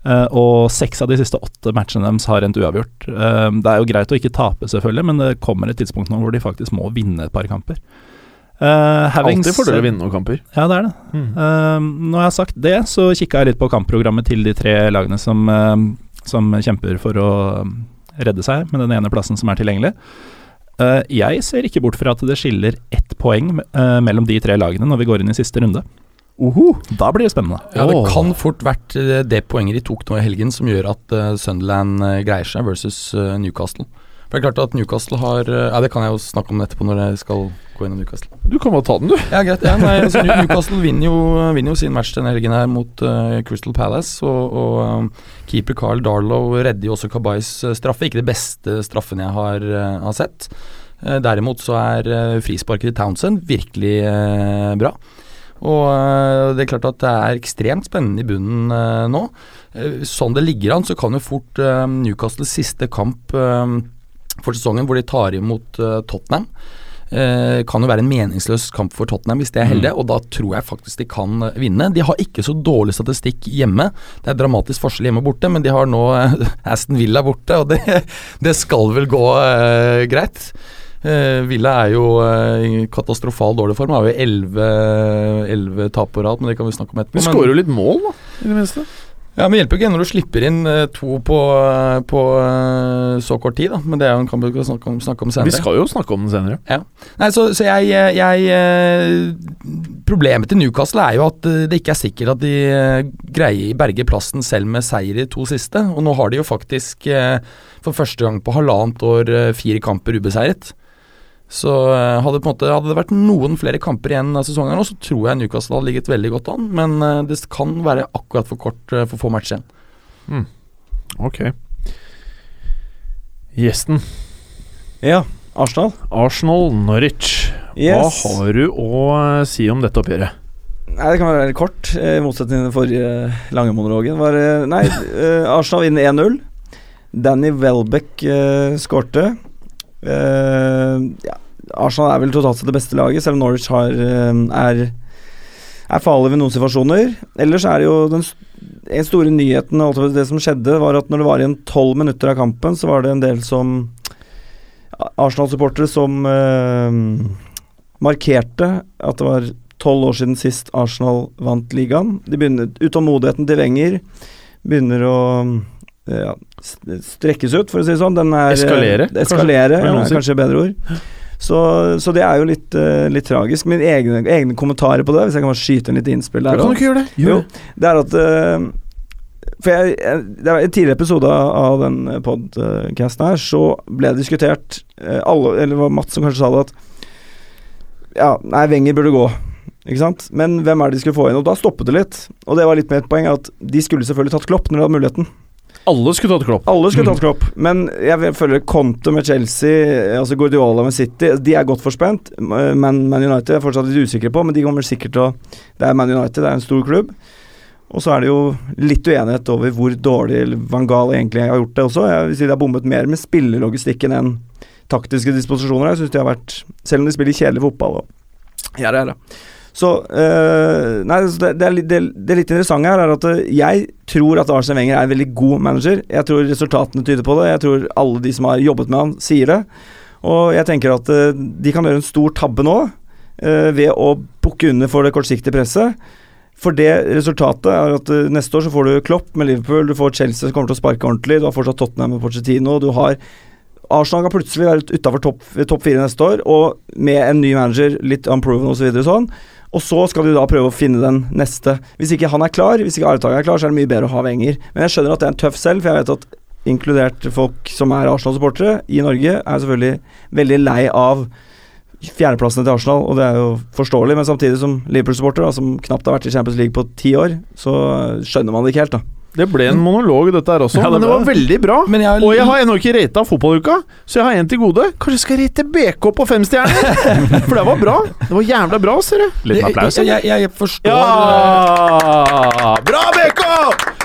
Eh, og seks av de siste åtte matchene deres har endt uavgjort. Eh, det er jo greit å ikke tape, selvfølgelig, men det kommer et tidspunkt nå hvor de faktisk må vinne et par kamper. Uh, Alltid fordel å vinne noen kamper. Ja, det er det. Eh, når jeg har sagt det, så kikka jeg litt på kampprogrammet til de tre lagene som, eh, som kjemper for å eh, redde seg med den ene plassen som er tilgjengelig. Eh, jeg ser ikke bort fra at det skiller ett poeng eh, mellom de tre lagene når vi går inn i siste runde. Da blir det spennende. Ja, det Åh. kan fort vært eh, det poenget de tok nå i helgen som gjør at eh, Sunderland eh, greier seg versus eh, Newcastle. For det er klart at Newcastle har eh, Ja, det kan jeg jo snakke om etterpå når jeg skal gå inn i Newcastle. Du kan bare ta den, du. Ja, greit. Ja, nei, altså, New- Newcastle vinner jo, vinner jo sin match denne helgen her mot eh, Crystal Palace. Og, og um, keeper Carl Darlow redder jo også Kabais eh, straffe. Ikke det beste straffen jeg har, eh, har sett. Eh, derimot så er eh, frisparket til Townsend virkelig eh, bra. Og eh, det er klart at det er ekstremt spennende i bunnen eh, nå. Eh, sånn det ligger an, så kan jo fort eh, Newcastles siste kamp eh, for sesongen, hvor de tar imot eh, Tottenham eh, kan jo være en meningsløs kamp for Tottenham hvis de er heldige, og da tror jeg faktisk de kan eh, vinne. De har ikke så dårlig statistikk hjemme. Det er dramatisk forskjell hjemme og borte, men de har nå eh, Aston Villa borte, og det, det skal vel gå eh, greit. Eh, Villa er jo eh, i katastrofal dårlig form. Har jo 11 elleve tap på rad, men det kan vi snakke om etterpå. Du Men- skårer jo litt mål, da. I det minste. ja, men det hjelper jo ikke når du slipper inn eh, to på, eh, på eh, så kort tid, da. Men det er jo en kamp vi skal snakke om, snakke om Vi senere. skal jo snakke om den senere. Nei, så, så jeg, eh, jeg eh, Problemet til Newcastle er jo at eh, det ikke er sikkert at de eh, greier berge plassen selv med seier i de to siste. Og nå har de jo faktisk eh, for første gang på halvannet år eh, fire kamper ubeseiret. Så eh, hadde, på en måte, hadde det vært noen flere kamper igjen av sesongen, her nå, så tror jeg Newcastle hadde ligget veldig godt an. Men eh, det kan være akkurat for kort eh, for få matcher igjen. Ok. Gjesten. Ja, Arsenal. Arsenal Norwich. Yes. Hva har du å eh, si om dette oppgjøret? Nei, det kan være veldig kort, eh, i motsetning til den forrige eh, lange monologen. Var, eh, nei, eh, Arsenal vinner 1-0. Danny Welbeck eh, skårte. Eh, ja, Arsenal er vel totalt sett det beste laget, selv om Norwich har, eh, er, er farlig ved noen situasjoner. Ellers er det jo den s- en store nyheten holdt jeg på å si, Det som skjedde, var at når det var igjen tolv minutter av kampen, så var det en del som Arsenal-supportere som eh, markerte at det var tolv år siden sist Arsenal vant ligaen. De begynner, utålmodigheten til Wenger begynner å eh, ja, s- strekkes ut, for å si det sånn. Den er, eh, Eskalere, kanskje, eskalere vil ja, noen er si. kanskje et bedre ord. Så, så det er jo litt, eh, litt tragisk. Mine egne, egne kommentarer på det, hvis jeg kan bare skyte en liten innspill der. også. ikke gjøre det. Jo, det er at eh, For jeg, jeg, det var I en tidligere episode av den eh, podcasten her, så ble det diskutert eh, alle, Eller det var Mats som kanskje sa det, at Ja, nei, Wenger burde gå. Ikke sant? Men hvem er det de skulle få inn? Og da stoppet det litt. Og det var litt med et poeng at de skulle selvfølgelig tatt Klopp når de hadde muligheten. Alle skulle tatt Klopp. Alle skulle tatt Klopp, men jeg føler Conte med Chelsea, altså Guardiola med City, de er godt forspent. eh, Man, Man United er fortsatt litt usikre på, men de kommer sikkert til å Det er Man United, det er en stor klubb. Og så er det jo litt uenighet over hvor dårlig Van Gaal egentlig har gjort det også. Jeg vil si De har bommet mer med spillelogistikken enn taktiske disposisjoner. Jeg synes de har vært, Selv om de spiller kjedelig fotball. Og, ja, det er det. Så eh, Nei, så det, det, er, litt- det, det litt interessante her er at eh, jeg tror at Arsen Wenger er en veldig god manager. Jeg tror resultatene tyder på det. Jeg tror alle de som har jobbet med han, sier det. Og jeg tenker at eh, de kan gjøre en stor tabbe nå eh, ved å bukke under for det kortsiktige presset. For det resultatet er at eh, neste år så får du Klopp med Liverpool, du får Chelsea som kommer til å sparke ordentlig, du har fortsatt Tottenham med Pochettino, du har Arsenal kan plutselig være utafor topp topp fire neste år, og med en ny manager, litt unproven osv. Og, så sånn, og så skal de da prøve å finne den neste. Hvis ikke han er klar, hvis ikke Aretaga er klar, så er det mye bedre å ha Wenger. Men jeg skjønner at det er en tøff selv, for jeg vet at inkludert folk som er Arsenal-supportere i Norge, er selvfølgelig veldig lei av fjerdeplassene til Arsenal, og det er jo forståelig, men samtidig som Liverpool-supporter, da, som knapt har vært i Champions League på ti år, så skjønner man det ikke helt, da. Det ble en monolog, dette her også, Ja, det men det ble var veldig bra. Men jeg, Og jeg har ennå ikke rata fotballuka, så jeg har en til gode. Kanskje jeg skal rate BK på fem stjerner? For det var bra. Det var jævla bra, ser du. Liten applaus. Jeg, jeg, jeg forstår eh, Ja! Bra, BK!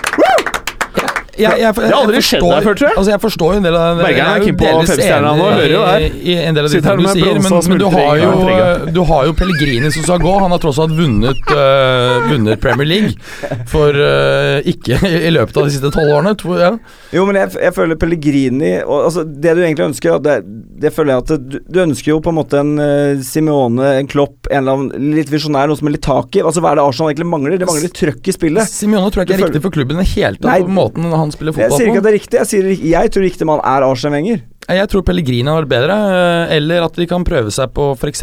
jeg, jeg, har aldri jeg skjedd forstår- deg før, tror jeg. Altså, jeg forstår jo en del av Bergeren er keen på femstjerna nå, hører jo i, det. i en del av de Sitter her tingene med du sier, men, bronse og men du, har jo, smultring. Ja, du har jo Pellegrini som skal gå. Han har tross alt vunnet, øh, vunnet Premier League for øh, ikke i løpet av de siste tolv årene. To, ja. Jo, men jeg, jeg føler Pellegrini og, altså, Det du egentlig ønsker, ja, det, det føler jeg at du, du ønsker jo på en måte en eh, Simeone, en Klopp, en eller annen litt visjonær, noe som er litt tak i. Altså, hva er det Arsenal egentlig mangler? Det mangler litt trøkk i spillet. Simione tror jeg ikke Du er riktig for klubben i det hele Nei. tatt, på måten han spiller Jeg sier fotball ikke på. at det er riktig, jeg, sier, rik- jeg tror riktig mann er Arsenal Wenger. Jeg tror Pellegrini har vært bedre, øh, eller at de kan prøve seg på eh, f.eks.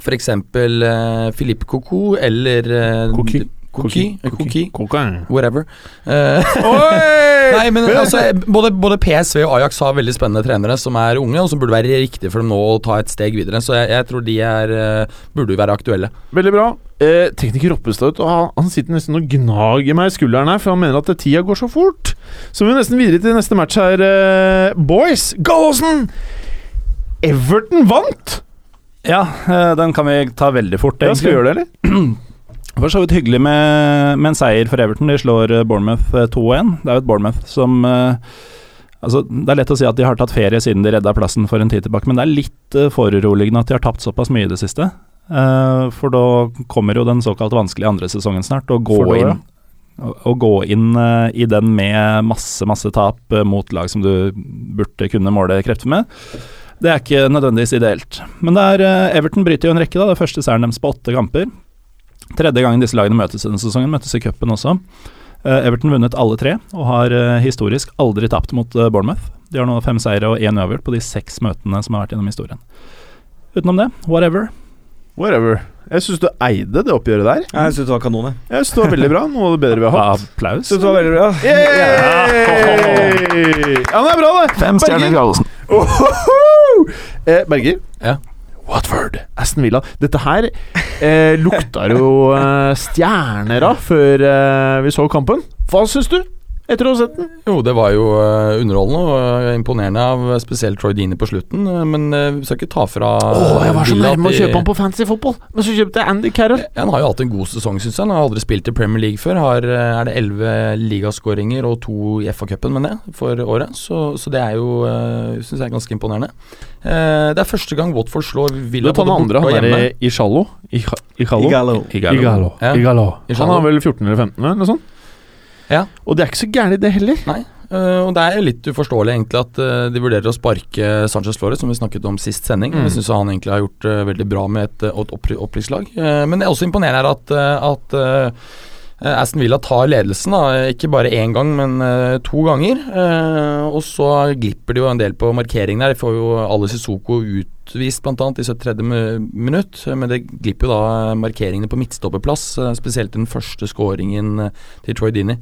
F.eks. eh, Philippe Cocu eller øh, Cocu. Cocu. Cocu. Kokang. Whatever. Eh, Nei, men altså, både, både PSV og Ajax har veldig spennende trenere som er unge, og som burde være riktig for dem nå å ta et steg videre. Så jeg, jeg tror de er eh, burde jo være aktuelle. Veldig bra. Eh, tekniker Roppestad vet du, han, han sitter nesten og gnager meg i skulderen her, for han mener at eh, tida går så fort. Så vi må nesten videre til neste match her, eh, boys. Gallosen! Everton vant! Ja, eh, den kan vi ta veldig fort. Ja, skal vi egentlig. gjøre det, eller? Det var så vidt hyggelig med, med en seier for Everton. De slår eh, Bournemouth eh, 2-1. Det er jo et Bournemouth som eh, Altså, Det er lett å si at de har tatt ferie siden de redda plassen for en tid tilbake, men det er litt eh, foruroligende at de har tapt såpass mye i det siste. Eh, for da kommer jo den såkalt vanskelige andre sesongen snart, og gå For da, ja. inn, å, å gå inn eh, i den med masse, masse tap eh, mot lag som du burde kunne måle krefter med. Det er ikke nødvendigvis ideelt. Men det er, eh, Everton bryter jo en rekke, da. Det er første seieren deres på åtte kamper. Tredje gangen disse lagene møtes i denne sesongen, møtes i cupen også. Eh, Everton vunnet alle tre, og har eh, historisk aldri tapt mot eh, Bournemouth. De har nå fem seire og én uavgjort på de seks møtene som har vært gjennom historien. Utenom det, whatever. Whatever. Jeg syns du eide det oppgjøret der. Jeg syns det var kanon, jeg. Jeg synes det var veldig bra. Noe av det bedre vi har hatt. Applaus. Synes det var veldig bra. Yay! Ja, men det er bra, det. Fem stjerner, Gallosen. Ohoho! Eh, Berger. Ja. Watford, Aston Villa. Dette her eh, lukta jo eh, stjerner av før eh, vi så kampen. Hva syns du? Etter å ha sett den? Jo, det var jo eh, underholdende og eh, imponerende av eh, spesielt Troy Dini på slutten, eh, men eh, vi skal ikke ta fra eh, Åh, jeg var så Villa at nærme å de- kjøpe han på Fancy Football, men så kjøpte jeg Andy Carroll. Ja, Han har jo hatt en god sesong, syns jeg. Han har aldri spilt i Premier League før. Har, eh, er det elleve ligaskåringer og to i FA-cupen, mener jeg, for året. Så, så det er jo Syns jeg er ganske imponerende. Eh, det er første gang Watford slår Du Villa tar den andre, han derre Ishalo. Iha- Ihalo? Igalo. Igalo. Ja. Igalo. Igalo. Han er vel 14 eller 15, eller noe sånt? Ja. Og det er ikke så gærent, det heller. Nei, eh, og det er jo litt uforståelig egentlig at eh, de vurderer å sparke Sanchez Flores, som vi snakket om sist sending. Mm. Jeg syns han egentlig har gjort det veldig bra med et, eh, et oppry- opprykkslag. Eh, Men det er også imponerende her at, eh, at eh, Aston Villa tar ledelsen, da. ikke bare én gang, men eh, to ganger. Eh, Og så glipper de jo en del på markeringen her. De får jo Alice Isoko ut utvist bl.a. i 73. mi- minutt, men det glipper jo da markeringene på midtstopperplass, eh, spesielt den første scoringen eh, til Troy Dini.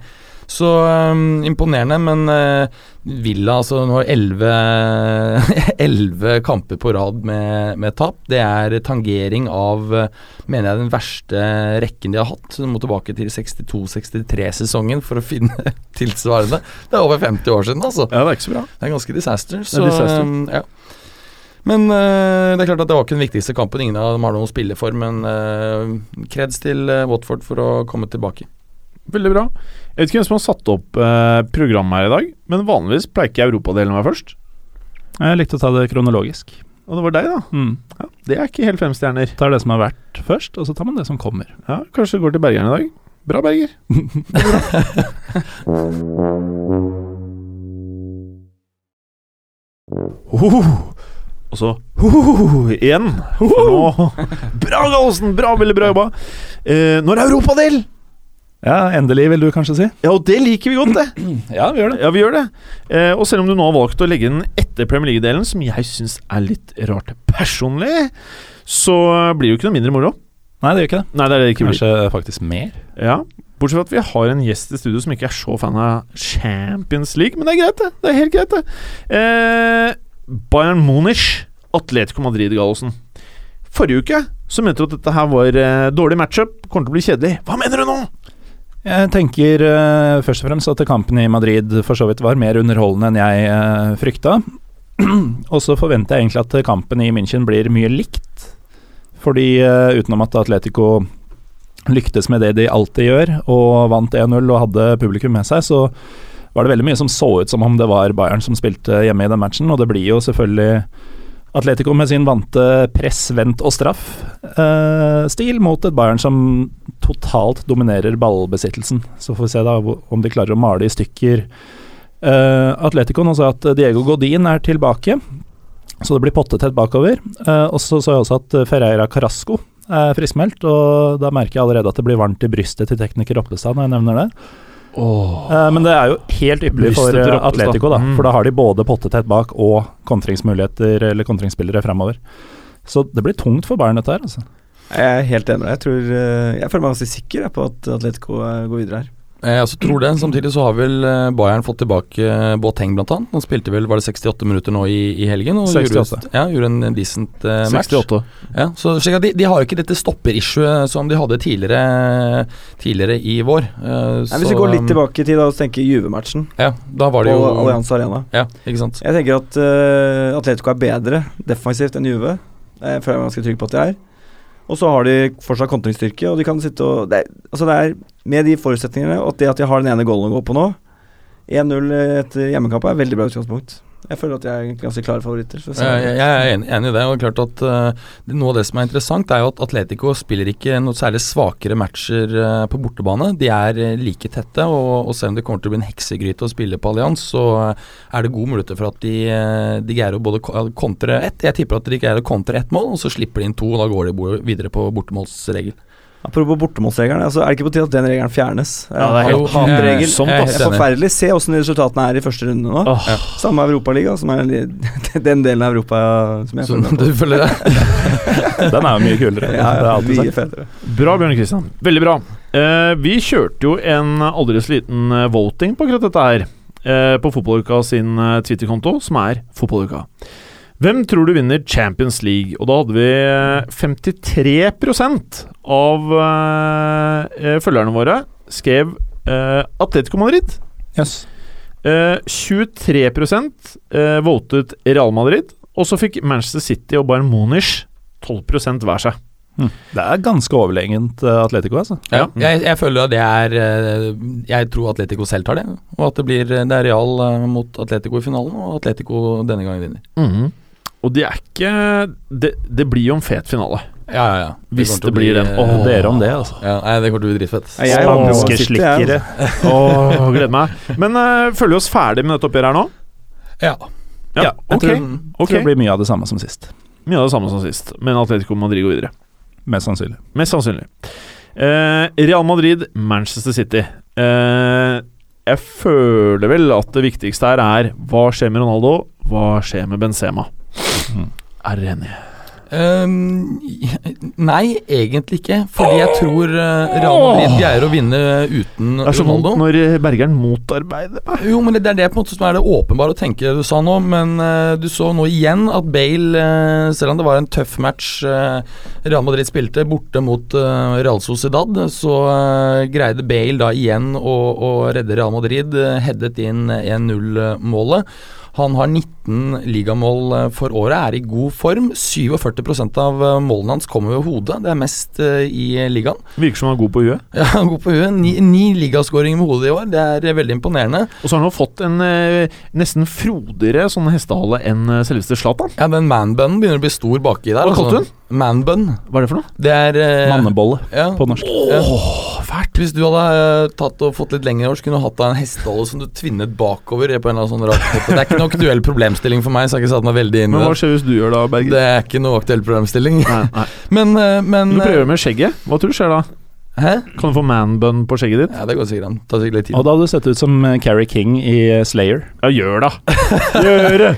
Så eh, imponerende, men eh, Villa altså nå har elleve- elleve kamper på rad med, med tap. Det er tangering av eh, mener jeg den verste rekken de har hatt. Du må tilbake til 62-63-sesongen for å finne tilsvarende. Det er over 50 år siden, altså. Ja, det er ikke så bra. Det er ganske disaster. er Så, disaster. um, ja. Men eh, det er klart at det var ikke den viktigste kampen. Ingen av dem har noe å spille for, men eh, kreds til eh, Watford for å komme tilbake. Veldig bra. Jeg vet ikke hvem som har satt opp eh, programmet her i dag, men vanligvis pleier ikke europadelen å være først. Jeg likte å ta det kronologisk. Og det var deg, da. Mm. Ja, det er ikke helt fem stjerner. Tar det som har vært først, og så tar man det som kommer. Ja, Kanskje det går til Bergeren i dag. Bra, Berger. Hoho. Og så hoho, igjen. For nå Bra, Gallosen! Bra, veldig bra jobba. Eh, når er europadel? Ja, endelig, vil du kanskje si. Ja, og det liker vi godt, det. Ja, vi gjør Ja, vi gjør det. Eh, og selv om du nå har valgt å legge den etter Premier League-delen, som jeg syns er litt rart personlig, så blir det jo ikke noe mindre moro. Nei, det gjør ikke det. Nei, det er det det ikke blir. Kanskje eh, faktisk mer. Ja. Bortsett fra at vi har en gjest i studio som ikke er så fan av Champions League, men det er greit, det. Det er helt greit, det. Eh, Bayern Munich, Atletico Madrid, Gallosen. Forrige uke så mente du at dette her var eh, dårlig matchup, kommer til å bli kjedelig. Hva mener du nå? Jeg tenker eh, først og fremst at kampen i Madrid for så vidt var mer underholdende enn jeg eh, frykta. og så forventer jeg egentlig at kampen i München blir mye likt. Fordi eh, utenom at Atletico lyktes med det de alltid gjør, og vant 1-0 og hadde publikum med seg, så var det veldig mye som så ut som om det var Bayern som spilte hjemme i den matchen, og det blir jo selvfølgelig Atletico med sin vante press, vent og straff-stil mot et Bayern som totalt dominerer ballbesittelsen. Så får vi se da hvor- om de klarer å male i stykker eh, Atletico. Nå sa jeg at Diego Godin er tilbake, så det blir pottetett bakover. Eh, og så så jeg også at eh, Ferreira Carasco er friskmeldt, og da merker jeg allerede at det blir varmt i brystet til tekniker Oppestad når jeg nevner det. Eh, men det er jo helt ypperlig for Brystet til eh, Oppestad. Atletico, da, Mm. for da har de både pottetett bak og kontringsmuligheter eller kontringsspillere fremover. Så det blir tungt for Bayern dette her, altså. Jeg er helt enig med deg. Jeg, tror, eh, jeg føler meg ganske sikker jeg, på at Atletico eh, går videre her. Jeg også altså, tror det. Samtidig så har vel eh, Bayern fått tilbake eh, Boateng blant annet. Han spilte vel var det 68 minutter nå i, i helgen. Og 68. Gjorde, ja, gjorde en decent eh, match. 68. Ja, så slik at de, de har jo ikke dette stopper-issuet eh, som de hadde tidligere, tidligere i vår. eh, Nei, hvis vi så, går litt um, tilbake i tid da, og tenker Juve-matchen Ja, da på var det jo Allianz Arena Ja, ikke sant. Jeg tenker at eh, Atletico er bedre defensivt enn Juve. Jeg føler jeg meg ganske trygg på at de er. Og så har de fortsatt kontringsstyrke, og de kan sitte og det er, Altså, det er med de forutsetningene og at det at de har den ene goalen å gå på nå 1-0 etter hjemmekamp er veldig bra utgangspunkt. Jeg føler at de er ganske klare favoritter. Så Eh, Jeg, jeg er enig, enig i det. og det er klart at eh, det- Noe av det som er interessant, er jo at Atletico spiller ikke noe særlig svakere matcher eh, på bortebane. De er eh, like tette, og, og selv om det kommer til å bli en heksegryte å spille på Allianz, så eh, er det gode muligheter for at de, eh, de greier å både ko- kontre ett Jeg tipper at de greier å kontre ett mål, og så slipper de inn to, og da går de bo- videre på bortemålsregel. Apropos bortemålsregelen, altså, er det ikke på tide at den regelen fjernes? Ja, det er helt Sånn Han- han- regel. Jeg grusomt, er sånn Det helt er enig. forferdelig. Se åssen resultatene er i første runde nå. Åh. Samme Europaliga, som er li- den delen av Europa som jeg Så følger med på. Sånn, du følger det? Den er jo mye kulere. Ja, det er ja, alltid mye sagt. fetere. Bra, Bjørn Kristian. Veldig bra. Eh, vi kjørte jo en aldri så liten eh, voting på akkurat dette her. eh, på Fotballuka sin eh, Twitter-konto, som er Fotballuka. Hvem tror du vinner Champions League? Og da hadde vi eh, 53 av eh, eh, følgerne våre skrev eh, Atletico Madrid. Yes. Eh, 23 eh, votet Real Madrid. Og så fikk Manchester City og Bayern Munich 12 hver seg. Det er ganske overlegent eh, Atletico, altså. Ja, jeg, jeg føler at det er eh, Jeg tror Atletico selv tar det, og at det blir eh, det er Real eh, mot Atletico i finalen, og Atletico denne gangen vinner. Og det er ikke Det, det blir jo en fet finale. Ja, ja, ja. Hvis kommer til det å bli, blir den. eh, Åh. Dere om det, altså. Ja, nei, det kommer til å bli dritfett. Nei, jeg håper jo Spanske City, jeg, slikkere. Åh, gleder meg. Men eh, føler vi oss ferdig med dette oppgjøret her nå? Ja. Ja, jeg ok. tror, ok. tror det blir mye av det samme som sist. Mye av det samme som sist, men Atletico Madrid går videre. Mest sannsynlig. Mest sannsynlig. Eh, Real Madrid, Manchester City. Eh, jeg føler Mhm. vel at det viktigste her er hva skjer med Ronaldo, hva skjer med Benzema? Er dere enige? Ehm, nei, egentlig ikke. Fordi jeg tror eh, Real Madrid greier å vinne uten Det er så vondt Ronaldo. når eh, Bergeren motarbeider meg. Jo, men Det er det på en måte som er det åpenbare å tenke du sa nå, men eh, du så nå igjen at Bale, eh, selv om det var en tøff match eh, Real Madrid spilte borte mot eh, Real Sociedad, så eh, greide Bale da igjen å, å redde Real Madrid. eh, headet inn 1-0-målet. Han har 19 ligamål eh, for året, er i god form. 47 av eh, målene hans kommer ved hodet, det er mest eh, i ligaen. Virker som han er god på huet. Ja, han er god på huet. Ni, ni ligaskåringer med hodet i år, det er eh, veldig imponerende. Og så har han jo fått en eh, nesten frodigere sånn hestehale enn eh, selveste Zlatan. Ja, den manbunnen begynner å bli stor baki der. altså. Hva kalte du den? Manbun. Hva er det for noe? Det er eh, Mannebolle Ja. på norsk. ja. Hvis du hadde eh, tatt og fått litt lengre år, så kunne du hatt deg en hestehale som du tvinnet bakover. På en eller annen sånn rar måte. Det er ikke noe aktuell problemstilling for meg, så jeg har ikke satt meg veldig inn i Men hva det. skjer hvis du gjør da, Berger? Det er ikke noe aktuell problemstilling. Nei, nei. Men, eh, Du men prøver med skjegget. Hva tror du skjer da? eh, Hæ? Kan du få manbun på skjegget ditt? Ja, det går sikkert an. Tar sikkert litt tid. Og da hadde du sett ut som eh, Carrie King i eh, Slayer. Ja, gjør da! Gjør det!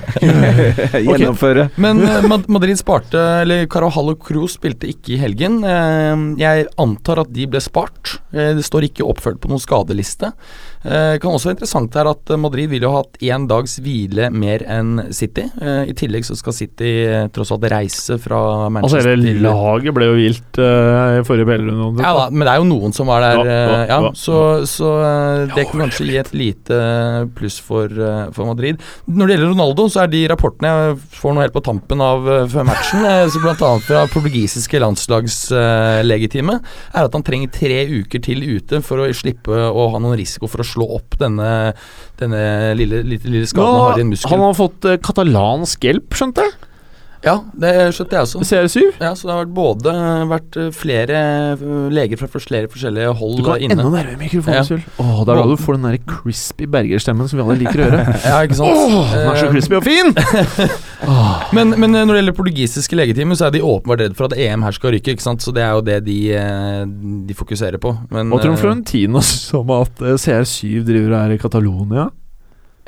Gjennomføre. Men eh, Mad- Madrid sparte, eller Carvajal og Cruz spilte ikke i helgen. Eh, Jeg antar at de ble spart. Eh, Det står ikke oppført på noen skadeliste. Eh, Kan også være interessant her at eh, Madrid ville jo ha hatt én dags hvile mer enn City. Eh, I tillegg så skal City eh, tross alt reise fra Altså, Manchester hele til- laget ble jo vilt eh, i forrige pellerunde. ja da, men det er jo noen som var der. Ja, ja, eh, ja, ja. Så, så eh, det kan kanskje gi et lite pluss for, eh, for Madrid. Når det gjelder Ronaldo, så er de rapportene jeg får nå helt på tampen av eh, før matchen, eh, så blant annet fra portugisiske landslagslegitime, er at han trenger tre uker til ute for å slippe å ha noen risiko for å slå opp denne, denne lille, lille, lille skaden han har i en Nå, han muskel. har fått eh, katalansk hjelp, skjønte jeg. Ja, det skjønte jeg også. CR7. Ja, Så det har vært både vært eh, flere eh, leger fra flere forskjellige hold Du kan inne. enda nærmere mikrofonen, Ja. Sul. Åh, det er da du får den der crispy Berger-stemmen som vi alle liker å høre. Ja, ikke sant? Åh, den er så Eh, crispy og fin! Men, men eh, når det gjelder portugisiske legetimer, så er de åpenbart redd for at EM her skal ryke, ikke sant? så det er jo det de, eh, de fokuserer på. Men Hva tror du om eh, Florentino som at eh, CR7 driver her i Catalonia?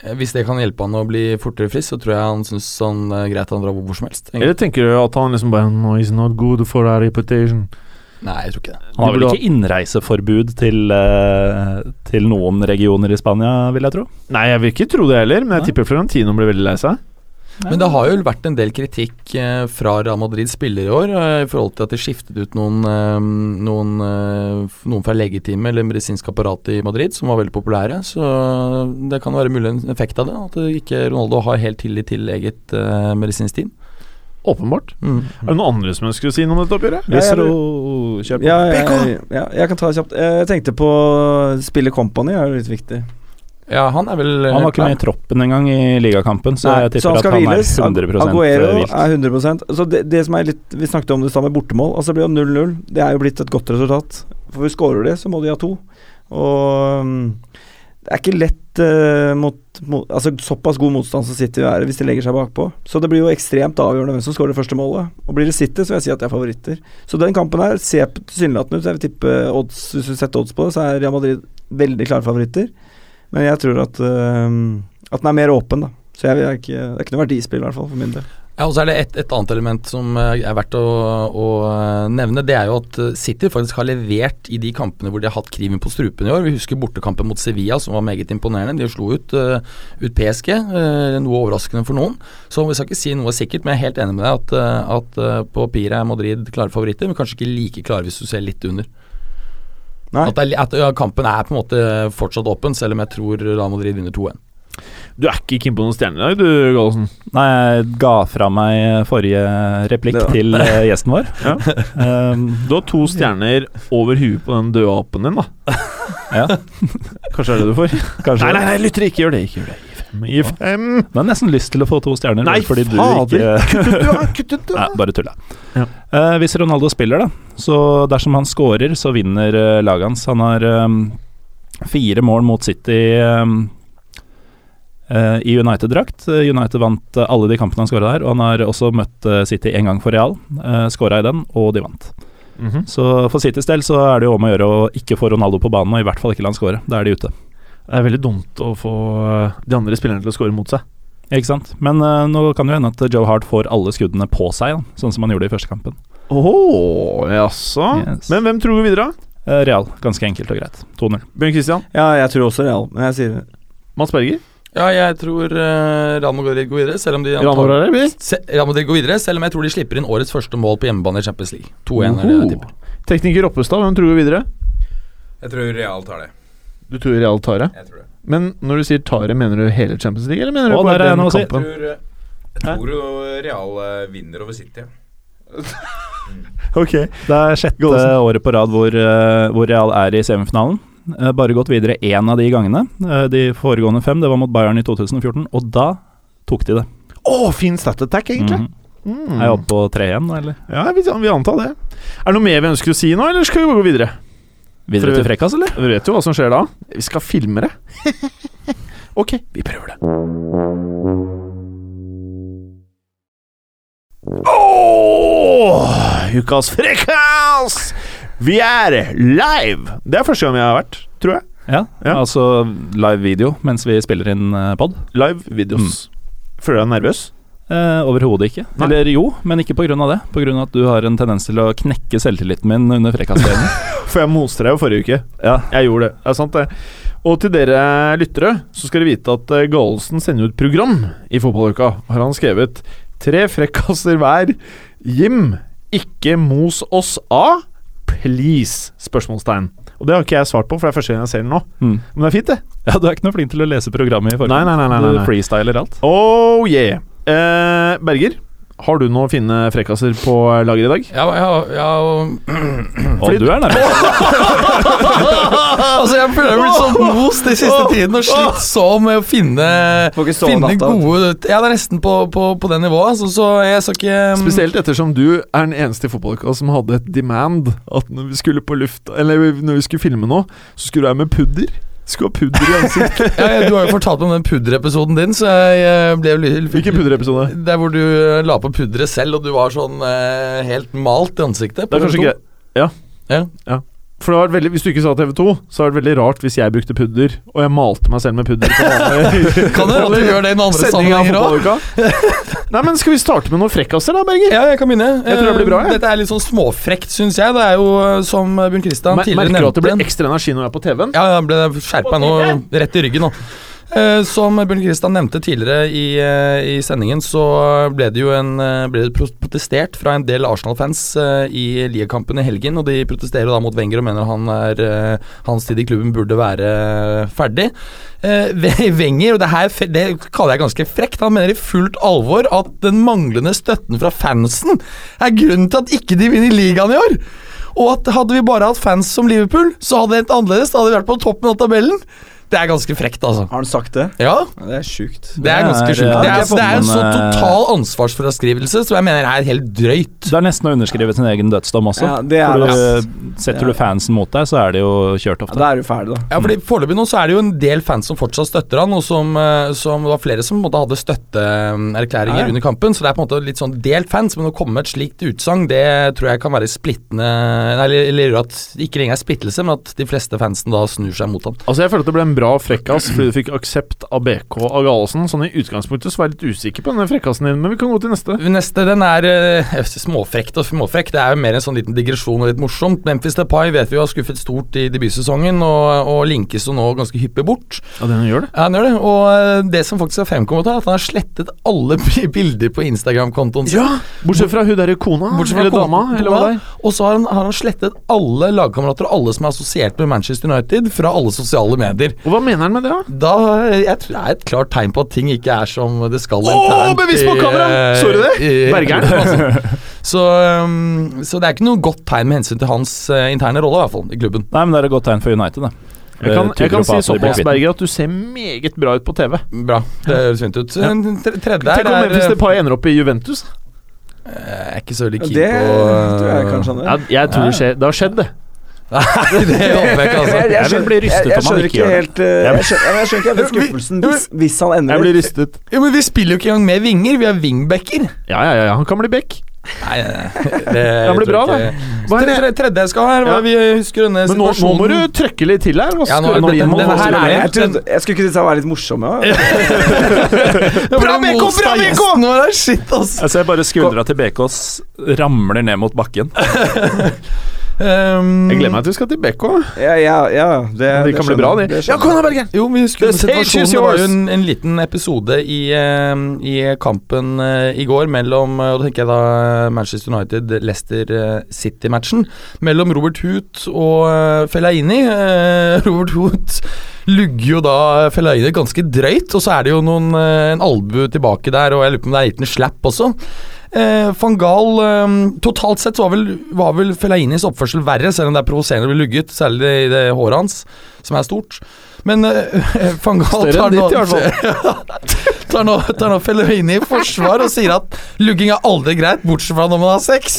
eh, hvis det kan hjelpe han å bli fortere frisk, så tror jeg han syns han eh, greit han drar hvor som helst. egentlig. Eller tenker du at han liksom bare No, he's not good for our reputation. Nei, jeg tror ikke det. Han har De vel burde ikke innreiseforbud til, eh, til noen regioner i Spania, vil jeg tro. Nei, jeg vil ikke tro det heller, men jeg tipper Florentino blir veldig lei seg. Men det har jo vært en del kritikk eh, fra Real Madrids spillere i år eh, i forhold til at de skiftet ut noen, eh, noen, eh, f- noen fra legetimet eller medisinsk apparat i Madrid, som var veldig populære. Så eh, det kan være mulig en effekt av det, at eh, ikke Ronaldo har helt tillit til eget eh, medisinsk team. Mm. Åpenbart. Er det noen andre som ønsker å si noe om dette oppgjøret? Ja, jeg- Cicero, kjør på. Ja, jeg, ja, jeg kan ta det kjapt. Eh, Jeg tenkte på spille company, er jo litt viktig. Ja, han er vel eh, Han var ikke med i troppen engang i ligakampen, så Nei, jeg tipper at han hviles. Ag- er eh, 100 Aguero vilt. er 100 Så det, det som er litt Vi snakket om det i stad med bortemål. Altså Det blir jo 0-0. Det er jo blitt et godt resultat. For hvis skårer de, så må de ha to. Og mm, det er ikke lett eh, mot, mot Altså såpass god motstand som City er hvis de legger seg bakpå. Så det blir jo ekstremt avgjørende hvem som skårer det første målet. Og blir det City, så vil jeg si at de er favoritter. Så den kampen her ser på- tilsynelatende ut. Jeg vil tippe odds Hvis du setter odds på det, så er Real Madrid veldig klare favoritter. Men jeg tror at eh, At den er mer åpen, da. Så jeg, vil ikke, det er ikke noe verdispill, i hvert fall, for min del. Ja, og så er det et, et annet element som eh, er verdt å, å eh, nevne. Det er jo at eh, City faktisk har levert i de kampene hvor de har hatt kriven på strupen i år. Vi husker bortekampen mot Sevilla som var meget imponerende. De slo ut, eh, ut PSG, eh, noe overraskende for noen. Så vi skal ikke si noe sikkert, men jeg er helt enig med deg at, eh, at eh, på papiret er Madrid klare favoritter, men kanskje ikke like klare hvis du ser litt under. Nei. At, det, er li- at ja, kampen er på en måte fortsatt åpen, selv om jeg tror Real Madrid vinner 2-1. Du er ikke keen på noen stjerne i dag, du, Gallosen. Nei, jeg ga fra meg forrige replikk Det var- til eh, gjesten vår. Ja. Um, Du har to stjerner over huet på den døde apen din, da. ja, Kanskje er det du får? kanskje. Nei, nei, nei, lytter ikke! Gjør det ikke, gjør det. Gi fem. Gi fem. Men jeg har nesten lyst til å få to stjerner. Nei, bare fordi du fader. ikke Du har kuttet Nei, bare tulla. Ja. Eh, hvis Ronaldo spiller, da, så dersom han scorer, så vinner eh, laget hans. Han har eh, fire mål mot City eh, eh, i United-drakt. Eh, United vant eh, alle de kampene han skåra der, og han har også møtt eh, City én gang for Real. Uh, skåra i den, og de vant. mhm. Så for Citys del så er det jo om å gjøre å ikke få Ronaldo på banen, og i hvert fall ikke la han score. Da er de ute. Det er veldig dumt å få eh, de andre spillerne til å score mot seg. Ikke sant? Men eh, nå kan det jo hende at Joe Hart får alle skuddene på seg, da, sånn som han gjorde i første kampen. Åh, jaså. Yes. Men hvem tror vi videre? da? Eh, Real, ganske enkelt og greit. 2-0. Bjørn Christian? Ja, jeg tror også Real, men jeg sier Mats Berger? Ja, jeg tror uh, Real Madrid går videre, selv om de Rana Brahe, Bill? Se, Real Madrid går videre, selv om jeg tror de slipper inn årets første mål på hjemmebane i Champions League. 2-1 er det jeg Oho. tipper. Tekniker Oppestad, hvem tror vi videre? Jeg tror Real tar det. Du tror Real tar det. Jeg tror det. Men når du sier tar det, mener du hele Champions League, eller mener du Å, bare der er jeg den nå å si. Jeg kampen? tror, eh, jeg tror jo Real eh, vinner over City. Ok. Det er sjette året på rad hvor, eh, hvor Real er i semifinalen. Eh, Bare gått videre én av de gangene. Eh, De foregående fem, det var mot Bayern i 2014, og da tok de det. Å, fin stat attack, egentlig. Mhm. Mm. Er jeg oppe på tre igjen, da, eller? Ja, vi, vi antar det. Er det noe mer vi ønsker å si nå, eller skal vi bare gå videre? Videre til Frekkas, eller? Vi vet jo hva som skjer da. Vi skal filme det. ok, vi prøver det. Åh, ukas frekkas! Vi er live! Det er første gang jeg har vært, tror jeg. Ja. Ja. Altså live video mens vi spiller inn eh, pod. Live videos. Føler du deg nervøs? Eh, Overhodet ikke. Nei. Eller jo, men ikke pga. det. Pga. at du har en tendens til å knekke selvtilliten min under Frekkas-serien. For jeg moste deg jo forrige uke. Ja. Jeg gjorde det. Det er sant, det. Og til dere lyttere, så skal dere vite at eh, Galesen sender ut program i fotballuka. Har han skrevet tre frekkaser hver. Jim, ikke mos oss A. Please? spørsmålstegn. Og det har ikke jeg svart på, for det er første gang jeg ser den nå. Mm. Men det er fint, det. ja, du er ikke noe flink til å lese programmet i forkant. Nei, nei, nei, nei, nei, nei. Du freestyler alt. Oh yeah. Eh, Berger, har du noen fine frekkaser på eh, lager i dag? Ja, ja, ja, Og du er nærmest. altså, jeg føler jeg har blitt så most de siste tiden og slitt sånn med å finne Får ikke sove Finne natta. vet du. gode Ja, det er nesten på, på, på det nivået, altså, så jeg skal ikke Spesielt ettersom du er den eneste i fotballuka som hadde et demand at når vi skulle på luft Eller når vi skulle filme nå, så skulle du være med pudder. Du Skulle ha pudder i ansiktet. ja, ja, Du har jo fortalt meg om den pudderepisoden din, så jeg eh, ble jo litt Hvilken pudderepisode? Der hvor du eh, la på pudderet selv, og du var sånn eh, helt malt i ansiktet. Det er kanskje greit. Ja. Ja. For det har vært veldig, Hvis du ikke sa TV2, så har det vært veldig rart hvis jeg brukte pudder, og jeg malte meg selv med pudder. på vanlig Kan det hende at du gjør det i noen andre sending av sammenhenger òg? fotballuka. Nei, men Skal vi starte med noen frekkaser, da, Berger? Ja, jeg kan begynne. Jeg tror det blir bra, Eh, jeg. Dette er litt sånn småfrekt, syns jeg. Det er jo eh, som eh, Bjørn Kristian Mer- tidligere Merker du at det nevnte. blir ekstra energi når jeg er på TV-en? Ja, jeg ble skjerp meg nå. Rett i ryggen nå. Eh, Som Bjørn Kristian nevnte tidligere i, eh, i sendingen, så ble det jo en, eh, ble det pro- protestert fra en del Arsenal-fans eh, i ligakampen i helgen. Og de protesterer da mot Wenger og mener han er, eh, hans tid i klubben burde være ferdig. Eh, Ve- Wenger, og det her fe- det kaller jeg ganske frekt, han mener i fullt alvor at den manglende støtten fra fansen er grunnen til at ikke de vinner ligaen i år. Og at hadde vi bare hatt fans som Liverpool, så hadde det endt annerledes. Da hadde vi vært på toppen av tabellen. Det er ganske frekt, altså. Har han sagt det? Ja, Ja, det er sjukt. det er ganske sjukt. ja, Det er, altså- det er det er en sånn, så eh, total ansvarsfraskrivelse som jeg mener er helt drøyt. Det er nesten å underskrive sin egen dødsdom også. Ja, det er For det, du, ass. eh, setter Ja. du fansen mot deg, så er det jo kjørt Ja, ofte. da er du ferdig, da. Ja, fordi Foreløpig nå så er det jo en del fans som fortsatt støtter han, og som, eh, som det var flere som på en måte hadde støtteerklæringer Ja, ja. under kampen. Så det er på en måte litt sånn delt fans, men å komme med et slikt utsagn, det tror jeg kan være splittende nei, Eller, eller gjøre at det ikke lenger er splittelse, men at de fleste fansen da snur seg mot han. Altså Jeg føler at det ble en bra frekkas fordi du fikk aksept av BK av Galesen. Sånn i utgangspunktet så var jeg litt usikker på den frekkasen din, men vi kan gå til neste. Neste den er eh, småfrekt og småfrekk. Det er jo mer en sånn liten digresjon og litt morsomt. Memphis Depay vet vi jo har skuffet stort i debutsesongen, og, og linkes jo nå ganske hyppig bort. Ja, den gjør det. Ja, han gjør det. Og eh, det som faktisk har fremkommet, er at han har slettet alle b- bilder på Instagram-kontoen sin. Ja, Bortsett fra hun derre kona, Bortsett fra eller kona- dama, eller hva det er. Og så har han, har han slettet alle lagkamerater og alle som er assosiert med Manchester United, fra alle sosiale medier. Og hva mener han med det, da? Da, eh, jeg tror det er et klart tegn på at ting ikke er som det skal eh, Åh, bevis på kamera! Så du det? Bergeren. Bergeren. Altså. Så, um, så det er ikke noe godt tegn med hensyn til hans eh, interne rolle, i hvert fall, i klubben. Nei, men det er et godt tegn for United, Eh, det. Jeg kan, Det tyder jeg kan jo på si at de blir såpass, kvitt den. Berger, at du ser meget bra ut på TV. Bra. Det høres fint ut. En tre- Tredje Tenk om her er Memphis eh, Depay ender opp i Juventus. Jeg er ikke så veldig Ja, keen det på tror jeg kanskje han Ja, er. jeg tror det skjer. Det har skjedd, det. Nei, det håper jeg ikke, altså. Jeg vil bli rystet jeg, om jeg han ikke skjønner ikke gjør det. helt eh, Jeg skjønner, jeg skjønner ikke helt den skuffelsen hvis, hvis han ender Jeg blir rystet. Jo, men vi spiller jo ikke engang med vinger, vi har wingbacker. Ja, ja, ja, ja. Han kan bli back. Nei, det Den blir bra, da. Hva er det? Tredje, tredje jeg skal ha her. hva Ja. Vi husker denne Men nå, nå må du situasjonen. trøkke litt til her. Hva Ja, nå skal- er nå dette- gir man denne hva her skal- er Ja, Jeg, trodde, jeg skulle ikke disse være litt morsomme. Ja. Bra, BK! Bra, BK! Shit, ass. altså. Altså, Jeg ser bare skuldra til BKs ramler ned mot bakken. Um, Jeg gleder meg til vi skal til BK. Ja, ja, ja, det, Det kan bli skjønner bra, jeg. det. skjønner jeg. da, Bergen! Jo, vi husker The denne stage is situasjonen. Det var jo yours. en, en liten episode i, eh, i kampen eh, i går mellom eh, og da tenker jeg da Manchester United-Leicester eh, City-matchen. Mellom Robert Hoot og eh, Fellaini. Eh, Robert Hoot lugger jo da Fellaini ganske drøyt, og så er det jo noen, eh, en albue tilbake der, og jeg lurer på om det er en liten slapp også. Eh, Van Gaal eh, Totalt sett så var vel, var vel Fellainis oppførsel verre, selv om det er provoserende å bli lugget, særlig i det håret hans, som er stort. Men eh, Van Gaal Større tar nå, enn ditt, i hvert tar nå, tar nå Fellaini i forsvar og sier at lugging er aldri greit, bortsett fra når man har sex.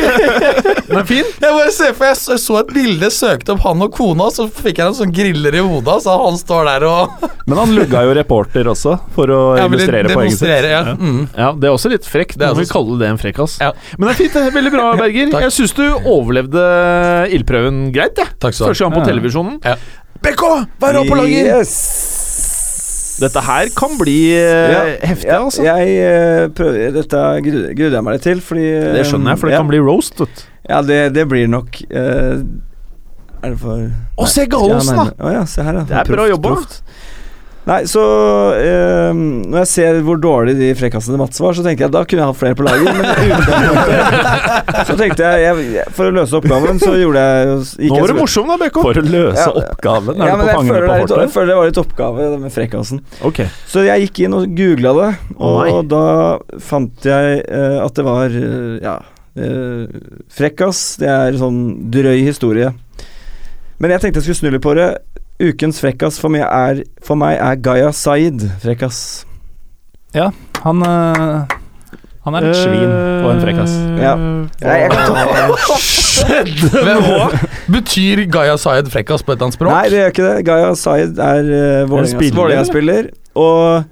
Men fin. Jeg bare ser for jeg så, så et bilde, søkte opp han og kona, så fikk jeg noen sånne griller i hodet, så han står der og Men han lugga jo reporter også, for å Jeg ville illustrere poenget sitt. demonstrere. Ja. Mm. Ja, Det er også litt frekt. Det er Må vi også- kalle det en frekkas. Ja. Men det er fint. det er Veldig bra, Berger. Takk. Jeg syns du overlevde ildprøven greit. jeg. Takk skal du ha. Første gang på Ja. televisjonen. Ja. BK, vær oppe og lager! Yes. Dette her kan bli eh, heftig, ja, altså. Jeg eh, prøver, dette gruder gruder jeg meg litt til, fordi eh, Det skjønner jeg, for det ja, kan bli roast. vet du. Ja, det, det blir nok eh, Er det for Å, se Gallosen, da! Å ja, se her, ja. Det er bra jobba. Nei, så eh, Når jeg ser hvor dårlig de frekkasene til Mats var, så tenkte jeg da kunne jeg hatt flere på laget. Men i utgangspunktet- så tenkte jeg, jeg For å løse oppgaven, så gjorde jeg Nå gikk jeg var så- du morsom, da, BK. For å løse Ja. oppgaven. Er Ja, du men på jeg fangene føler, det på er litt, jeg fortet? føler det var litt oppgave, det med frekkasen. Ok. Så jeg gikk inn og googla det, og, Å, nei. da fant jeg eh, at det var eh, Ja. eh, frekkas, det er sånn drøy historie. Men jeg tenkte jeg skulle snu litt på det. Ukens frekkas for meg er, for meg er Gaia Saeed frekkas. Han, eh, han er et svin og en frekkas. Eh, Ja. Nei, jeg kan ta- Hvem Betyr Gaia Sayed frekkas på et eller annet språk? Nei, det gjør ikke det. Gaia Saeed er uh, spiller, Vålerenga-spiller. Og eh,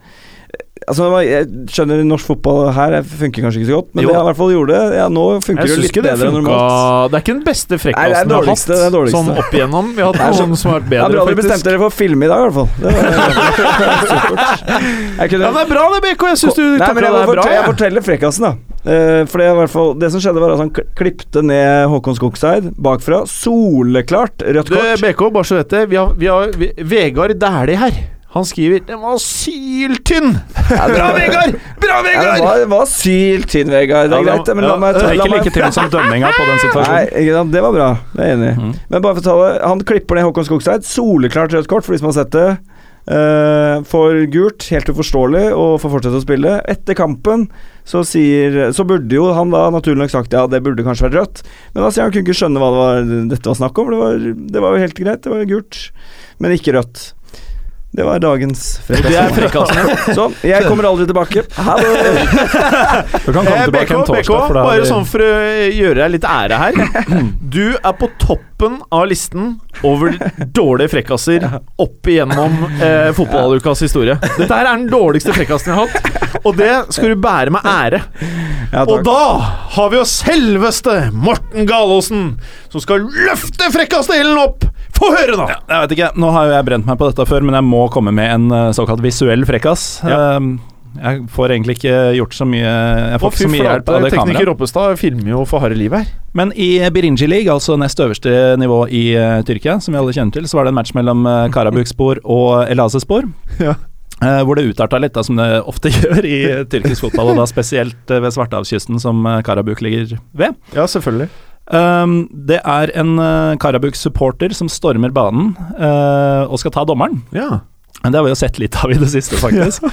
Altså, jeg skjønner norsk fotball her jeg funker kanskje ikke så godt, men Jo. det jeg i hvert fall gjorde det. Ja, nå funker Jeg det jo syns litt ikke det bedre enn funka normalt. Det er ikke den beste Nei, det er frekkasen vi har hatt. dårligste, det er dårligste. Sånn opp igjennom. Vi har Det er sånn- hatt så- noen som har vært Det er bedre, bra dere faktisk. bestemte dere for å filme i dag, i hvert fall. Det var, jeg Ja, kunne, det er bra det, BK. Jeg syns du nei, men takla jeg, det må er bra. fortelle, jeg jeg. forteller frekkasen, da. Eh, for det, er i hvert fall, det som skjedde, var at han kl- klipte ned Håkon Skogseid bakfra. Soleklart rødt Du, kort. BK, bare så du vet det. Vi har, vi har vi, Vegard Dæhlie her. Han skriver 'Den var syltynn'! Bra, Vegard! Bra, Ja, det Vegard! var, var syltynn, Vegard. Det Ja, er greit, det, men la meg Det ta er la ikke meg, like tynn som dømminga på den Nei, situasjonen. ikke sant, det var bra. Det er jeg enig i. Mm. Men bare for å ta det, han klipper ned Håkon Skogseid. Soleklart rødt kort for de som har sett det. Eh, får gult, helt uforståelig, og får fortsette å spille. Etter kampen så sier Så burde jo han da naturlig nok sagt ja, det burde kanskje vært rødt, men da sier han kunne ikke skjønne hva det var, dette var snakk om, for det var, det var jo helt greit, det var jo gult, men ikke rødt. Det var dagens Det er frekkas. frekkasen. Sånn, jeg kommer aldri tilbake. Ha det! Du kan komme Eh, tilbake en BK, BK, torsdag, for da bare har sånn vi for å gjøre deg litt ære her. Du er på toppen av listen over dårlige frekkaser opp igjennom eh, fotballukas historie. Dette her er den dårligste frekkasen jeg har hatt, og det skal du bære med ære. Ja, Og takk. da har vi jo selveste Morten Galaasen, som skal løfte frekkasdelen opp! Få høre, da! Jeg vet ikke, Nå har jo jeg brent meg på dette før, men jeg må komme med en eh, såkalt visuell frekkas. Eh, Jeg får egentlig ikke gjort så mye Jeg får Å, ikke fy så mye hjelp av flate, det kameraet. tekniker Roppestad filmer jo for harde livet her. Men i Birinci League, altså nest øverste nivå i eh, Tyrkia, som vi alle kjenner til, så var det en match mellom uh, Karabukspor og Elazespor. Ja. Eh, hvor det utarta litt, da, som det ofte gjør i eh, tyrkisk fotball, og da spesielt eh, ved Svartehavskysten, som eh, Karabuk ligger ved. Ja, selvfølgelig. Um, det er en eh, Karabuk-supporter som stormer banen eh, og skal ta dommeren. Ja. Men Det har vi jo sett litt av i det siste, faktisk.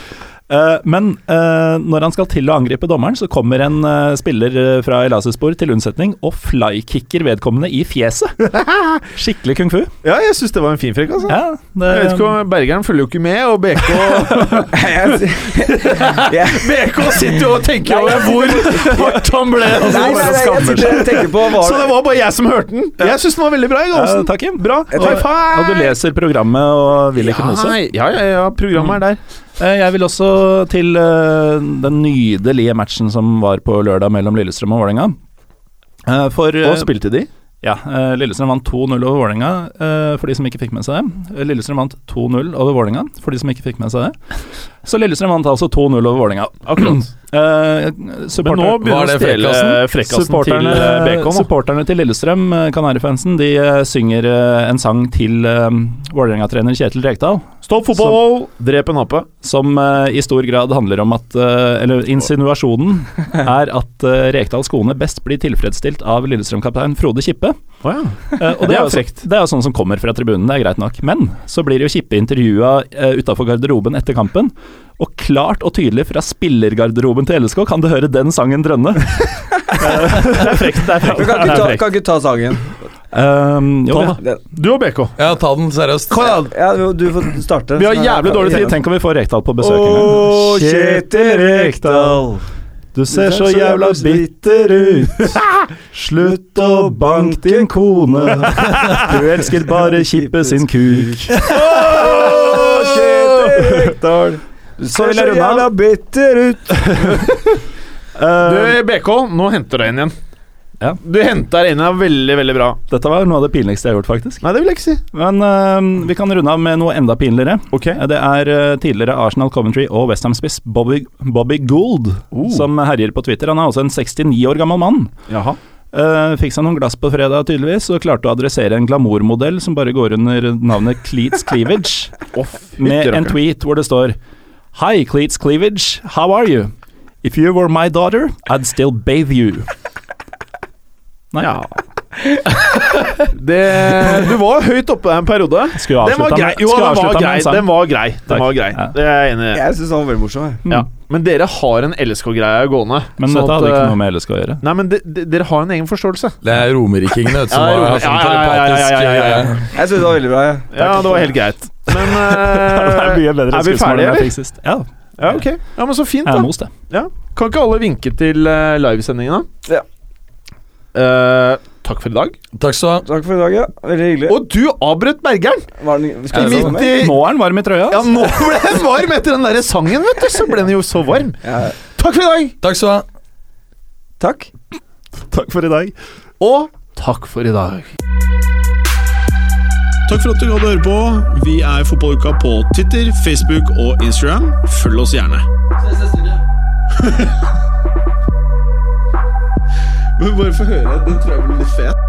Eh, men eh, når han skal til å angripe dommeren, så kommer en eh, spiller eh, fra Elazespor til unnsetning og flykicker vedkommende i fjeset. Skikkelig kung fu. ja, jeg syns det var en fin frekkas. da. Ja, det, Jeg vet ikke om Bergeren følger jo ikke med, og BK, Jeg, jeg, BK sitter jo og tenker over hvor hardt han ble. og så nei, nei, bare nei, jeg skammer seg. sitter og tenker på hva Så det var bare jeg som hørte den. Jeg syns den var veldig bra. i ja, Galsen. Eh, takk, Jim. Bra. Jeg High tar- five! Og du leser programmet og vil ikke Ja, mose? ja, ja, ja, programmet er der. Eh, Jeg vil også til eh, den nydelige matchen som var på lørdag mellom Lillestrøm og Vålerenga. Eh, For eh, Og spilte de? Ja, eh, Lillestrøm vant 2-0 over Vålerenga, eh, for de som ikke fikk med seg det. Eh, Lillestrøm vant 2-0 over Vålerenga, for de som ikke fikk med seg det. Så Lillestrøm vant altså 2-0 over Vålerenga. Akkurat. Eh, Men nå supporter- begynner Var å det stjele frekkasen? frekkasen til supporterne, eh, BK nå. supporterne til Lillestrøm, eh, Kanarifansen, de eh, synger eh, en sang til eh, Vålerenga-trener Kjetil Rekdal. Stopp fotball! Drep en ape. Som eh, i stor grad handler om at eh, Eller insinuasjonen er at eh, Rekdal Skone best blir tilfredsstilt av Lillestrøm-kaptein Frode Kippe. Å ja. Eh, og det er jo frekt. Det er jo sånn som kommer fra tribunen, det er greit nok. Men så blir jo Kippe intervjua uh, utafor garderoben etter kampen. Og klart og tydelig fra spillergarderoben til LSK kan du høre den sangen drønne. Eh, det er frekt. Det er frekt. Men kan Det ikke er ta, frekt. kan ikke ta sangen. Eh, jo, Ta ja. den. Den- Du og BK. Ja, ta den seriøst. Ja, du- du får starte. Vi har Så- jævlig dårlig tid. Tenk om vi får Rekdal på Å, besøk. en gang. Kjetil Rekdal, du ser så jævla bitter ut. Slutt å banke din kone. Du elsker bare Kippe sin kuk. Kjetil Rekdal. Så vil jeg runde av. bitter ut. Du, BK, nå henter du deg inn igjen. Ja. Du henter deg inn igjen veldig, veldig bra. Dette var noe av det pinligste jeg har gjort, faktisk. Nei, det vil jeg ikke si. Men eh, vi kan runde av med noe enda pinligere. Ok. Eh, Det er eh, tidligere Arsenal Coventry og Westham-spiss Bobby, Bobby Gould Oh. som herjer på Twitter. Han er også en 69 år gammel mann. Jaha. Eh, fikk seg noen glass på fredag, tydeligvis, og klarte å adressere en glamourmodell som bare går under navnet Cleats Cleavage, med en tweet hvor det står Hi, Cleats Cleavage, how are you? If you were my daughter, I'd still bathe you. Nei, Ja. Det, du var høyt oppe der en periode. skulle Den var avslutta grei. med, Jo, skulle den var avslutta med grei. en sang. Den var grei. Takk. Den var grei. Ja. Det er jeg enig i. Jeg syns han var veldig morsom. Jeg. Ja. Men dere har en LSK-greie gående. Men sånn dette at, hadde eh, ikke noe med LSK å gjøre. Nei, men de, de, dere har en egen forståelse. Det er romerikingene vet du, som Ja, har romer- har sånn ja, ja, ja, ja, telepatisk ja, ja, ja. eh, Jeg syns det var veldig bra. Jeg. Ja, det var helt greit. Men eh, er vi ferdige, eller? Ja, Ja, ok. Ja, men så fint, jeg er da. most, jeg. Kan ikke alle vinke til eh, livesendingen, da? Ja. Eh, takk for i dag. Takk skal du ha. Takk for i dag, ja. Veldig hyggelig. Og du avbrøt bergeren! Var den, I skal vi midt ta med? i Nå er han varm i trøya. Ja, nå ble den varm etter den derre sangen, vet du. Så ble den jo så varm. Ja. Takk for i dag! Takk skal du ha. Takk. Takk for i dag. Og takk for i dag. Takk for at du hadde høre på. Vi er Fotballuka på Titter, Facebook og Instagram. Følg oss gjerne. Men bare få høre. Den tror jeg blir litt fet.